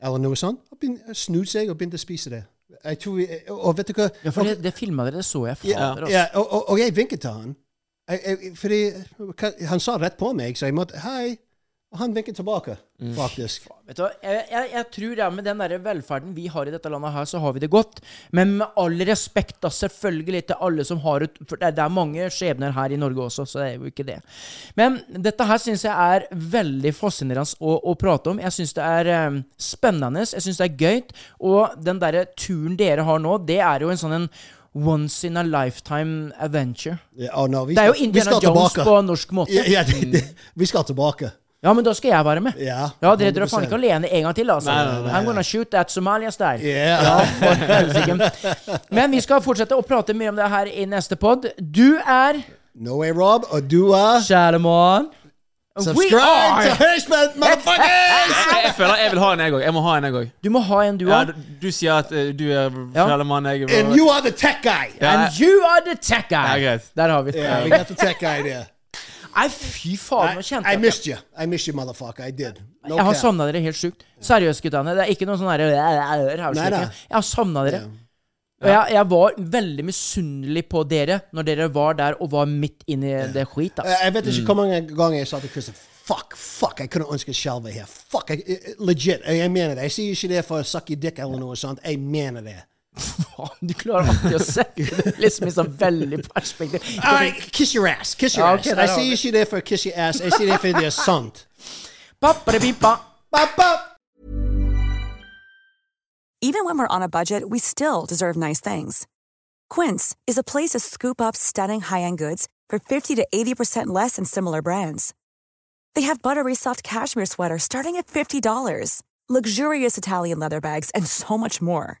Speaker 4: eller noe sånt. Og begyn- snudde seg og begynte å spise det. Jeg tror vi, og vet du hva?
Speaker 3: Ja, for det, det filma dere, det så jeg.
Speaker 4: Ja,
Speaker 3: Fader,
Speaker 4: ja,
Speaker 3: altså.
Speaker 4: og, og, og jeg vinket til han. Jeg, jeg, fordi hva- han sa rett på meg, så jeg måtte Hei. Og han vinket tilbake,
Speaker 3: Mm.
Speaker 4: faktisk.
Speaker 3: Vet du hva, jeg, jeg, jeg tror ja, med den der velferden vi har i dette landet her, så har vi det godt. Men med all respekt, da, selvfølgelig til alle som har ut For det, det er mange skjebner her i Norge også, så det er jo ikke det. Men dette her syns jeg er veldig fascinerende å, å prate om. Jeg syns det er eh, spennende, jeg syns det er gøy. Og den derre turen dere har nå, det er jo en sånn en once in a lifetime adventure.
Speaker 4: Ja, og når vi
Speaker 3: Det er jo
Speaker 4: skal- vi
Speaker 3: Indiana
Speaker 4: skal
Speaker 3: Jones
Speaker 4: tilbake.
Speaker 3: på norsk måte.
Speaker 4: Ja, ja, det, det, vi skal tilbake.
Speaker 3: Ja, men da skal jeg være med.
Speaker 4: Ja,
Speaker 3: Ja, dere drar faen ikke
Speaker 4: 100%.
Speaker 3: alene en gang til, altså.
Speaker 4: Nei, nei, nei,
Speaker 3: I'm gonna shoot that Somalia style.
Speaker 4: Yeah.
Speaker 3: Ja, for helsike. Men vi skal fortsette å prate mye om det her i neste pod. Du er
Speaker 4: No way, Rob. Og du er
Speaker 3: Shalamon.
Speaker 4: Subscribe to Hirschman,
Speaker 2: Jeg, jeg føler jeg vil ha en, jeg òg. Jeg må ha en, jeg òg.
Speaker 3: Du må ha en, du
Speaker 2: Ja,
Speaker 3: òg.
Speaker 2: du, du sier at eh, du er
Speaker 3: Ja.
Speaker 2: Fjellemann, jeg er
Speaker 4: And you are the tech guy.
Speaker 2: Ja.
Speaker 3: And you are the tech guy.
Speaker 2: Ja, greit.
Speaker 3: Der har vi det.
Speaker 4: Yeah, we got the tech guy there.
Speaker 3: Nei, fy
Speaker 4: Oh,
Speaker 3: faen, nå kjente
Speaker 4: I missed you. I missed you, motherfucker. I did. No
Speaker 3: jeg har
Speaker 4: cap.
Speaker 3: savna dere helt sjukt. Seriøst, guttene. Det er ikke noe sånn herre
Speaker 4: Nei, nei.
Speaker 3: Jeg har savna dere. Og jeg, jeg var veldig misunnelig på dere når dere var der og var midt inni det skit. ass.
Speaker 4: Jeg jeg vet ikke hvor mange ganger jeg sa til Christian Fuck, fuck, jeg kunne ønske Skjelve her. Fuck, jeg, jeg- legit. Jeg jeg mener det. Jeg sier ikke det for å suck your dick eller noe sånt. Jeg mener det.
Speaker 3: Faen, du klarer alltid å sette det liksom i sånn veldig perspektiv.
Speaker 4: All right, kiss your ass. Kiss your
Speaker 3: Ja,
Speaker 4: ass.
Speaker 3: ok, der
Speaker 4: Jeg
Speaker 3: har
Speaker 4: sier
Speaker 3: vi.
Speaker 4: ikke det for å kiss your ass. Jeg sier det fordi det er sant.
Speaker 3: Pappa, det pipa.
Speaker 4: Ba, ba.
Speaker 7: Even when we're on a budget, we still deserve nice things. Quince is a place to scoop up stunning high-end goods for 50 to 80% less than similar brands. They have buttery soft cashmere sweaters starting at $50, luxurious Italian leather bags, and so much more.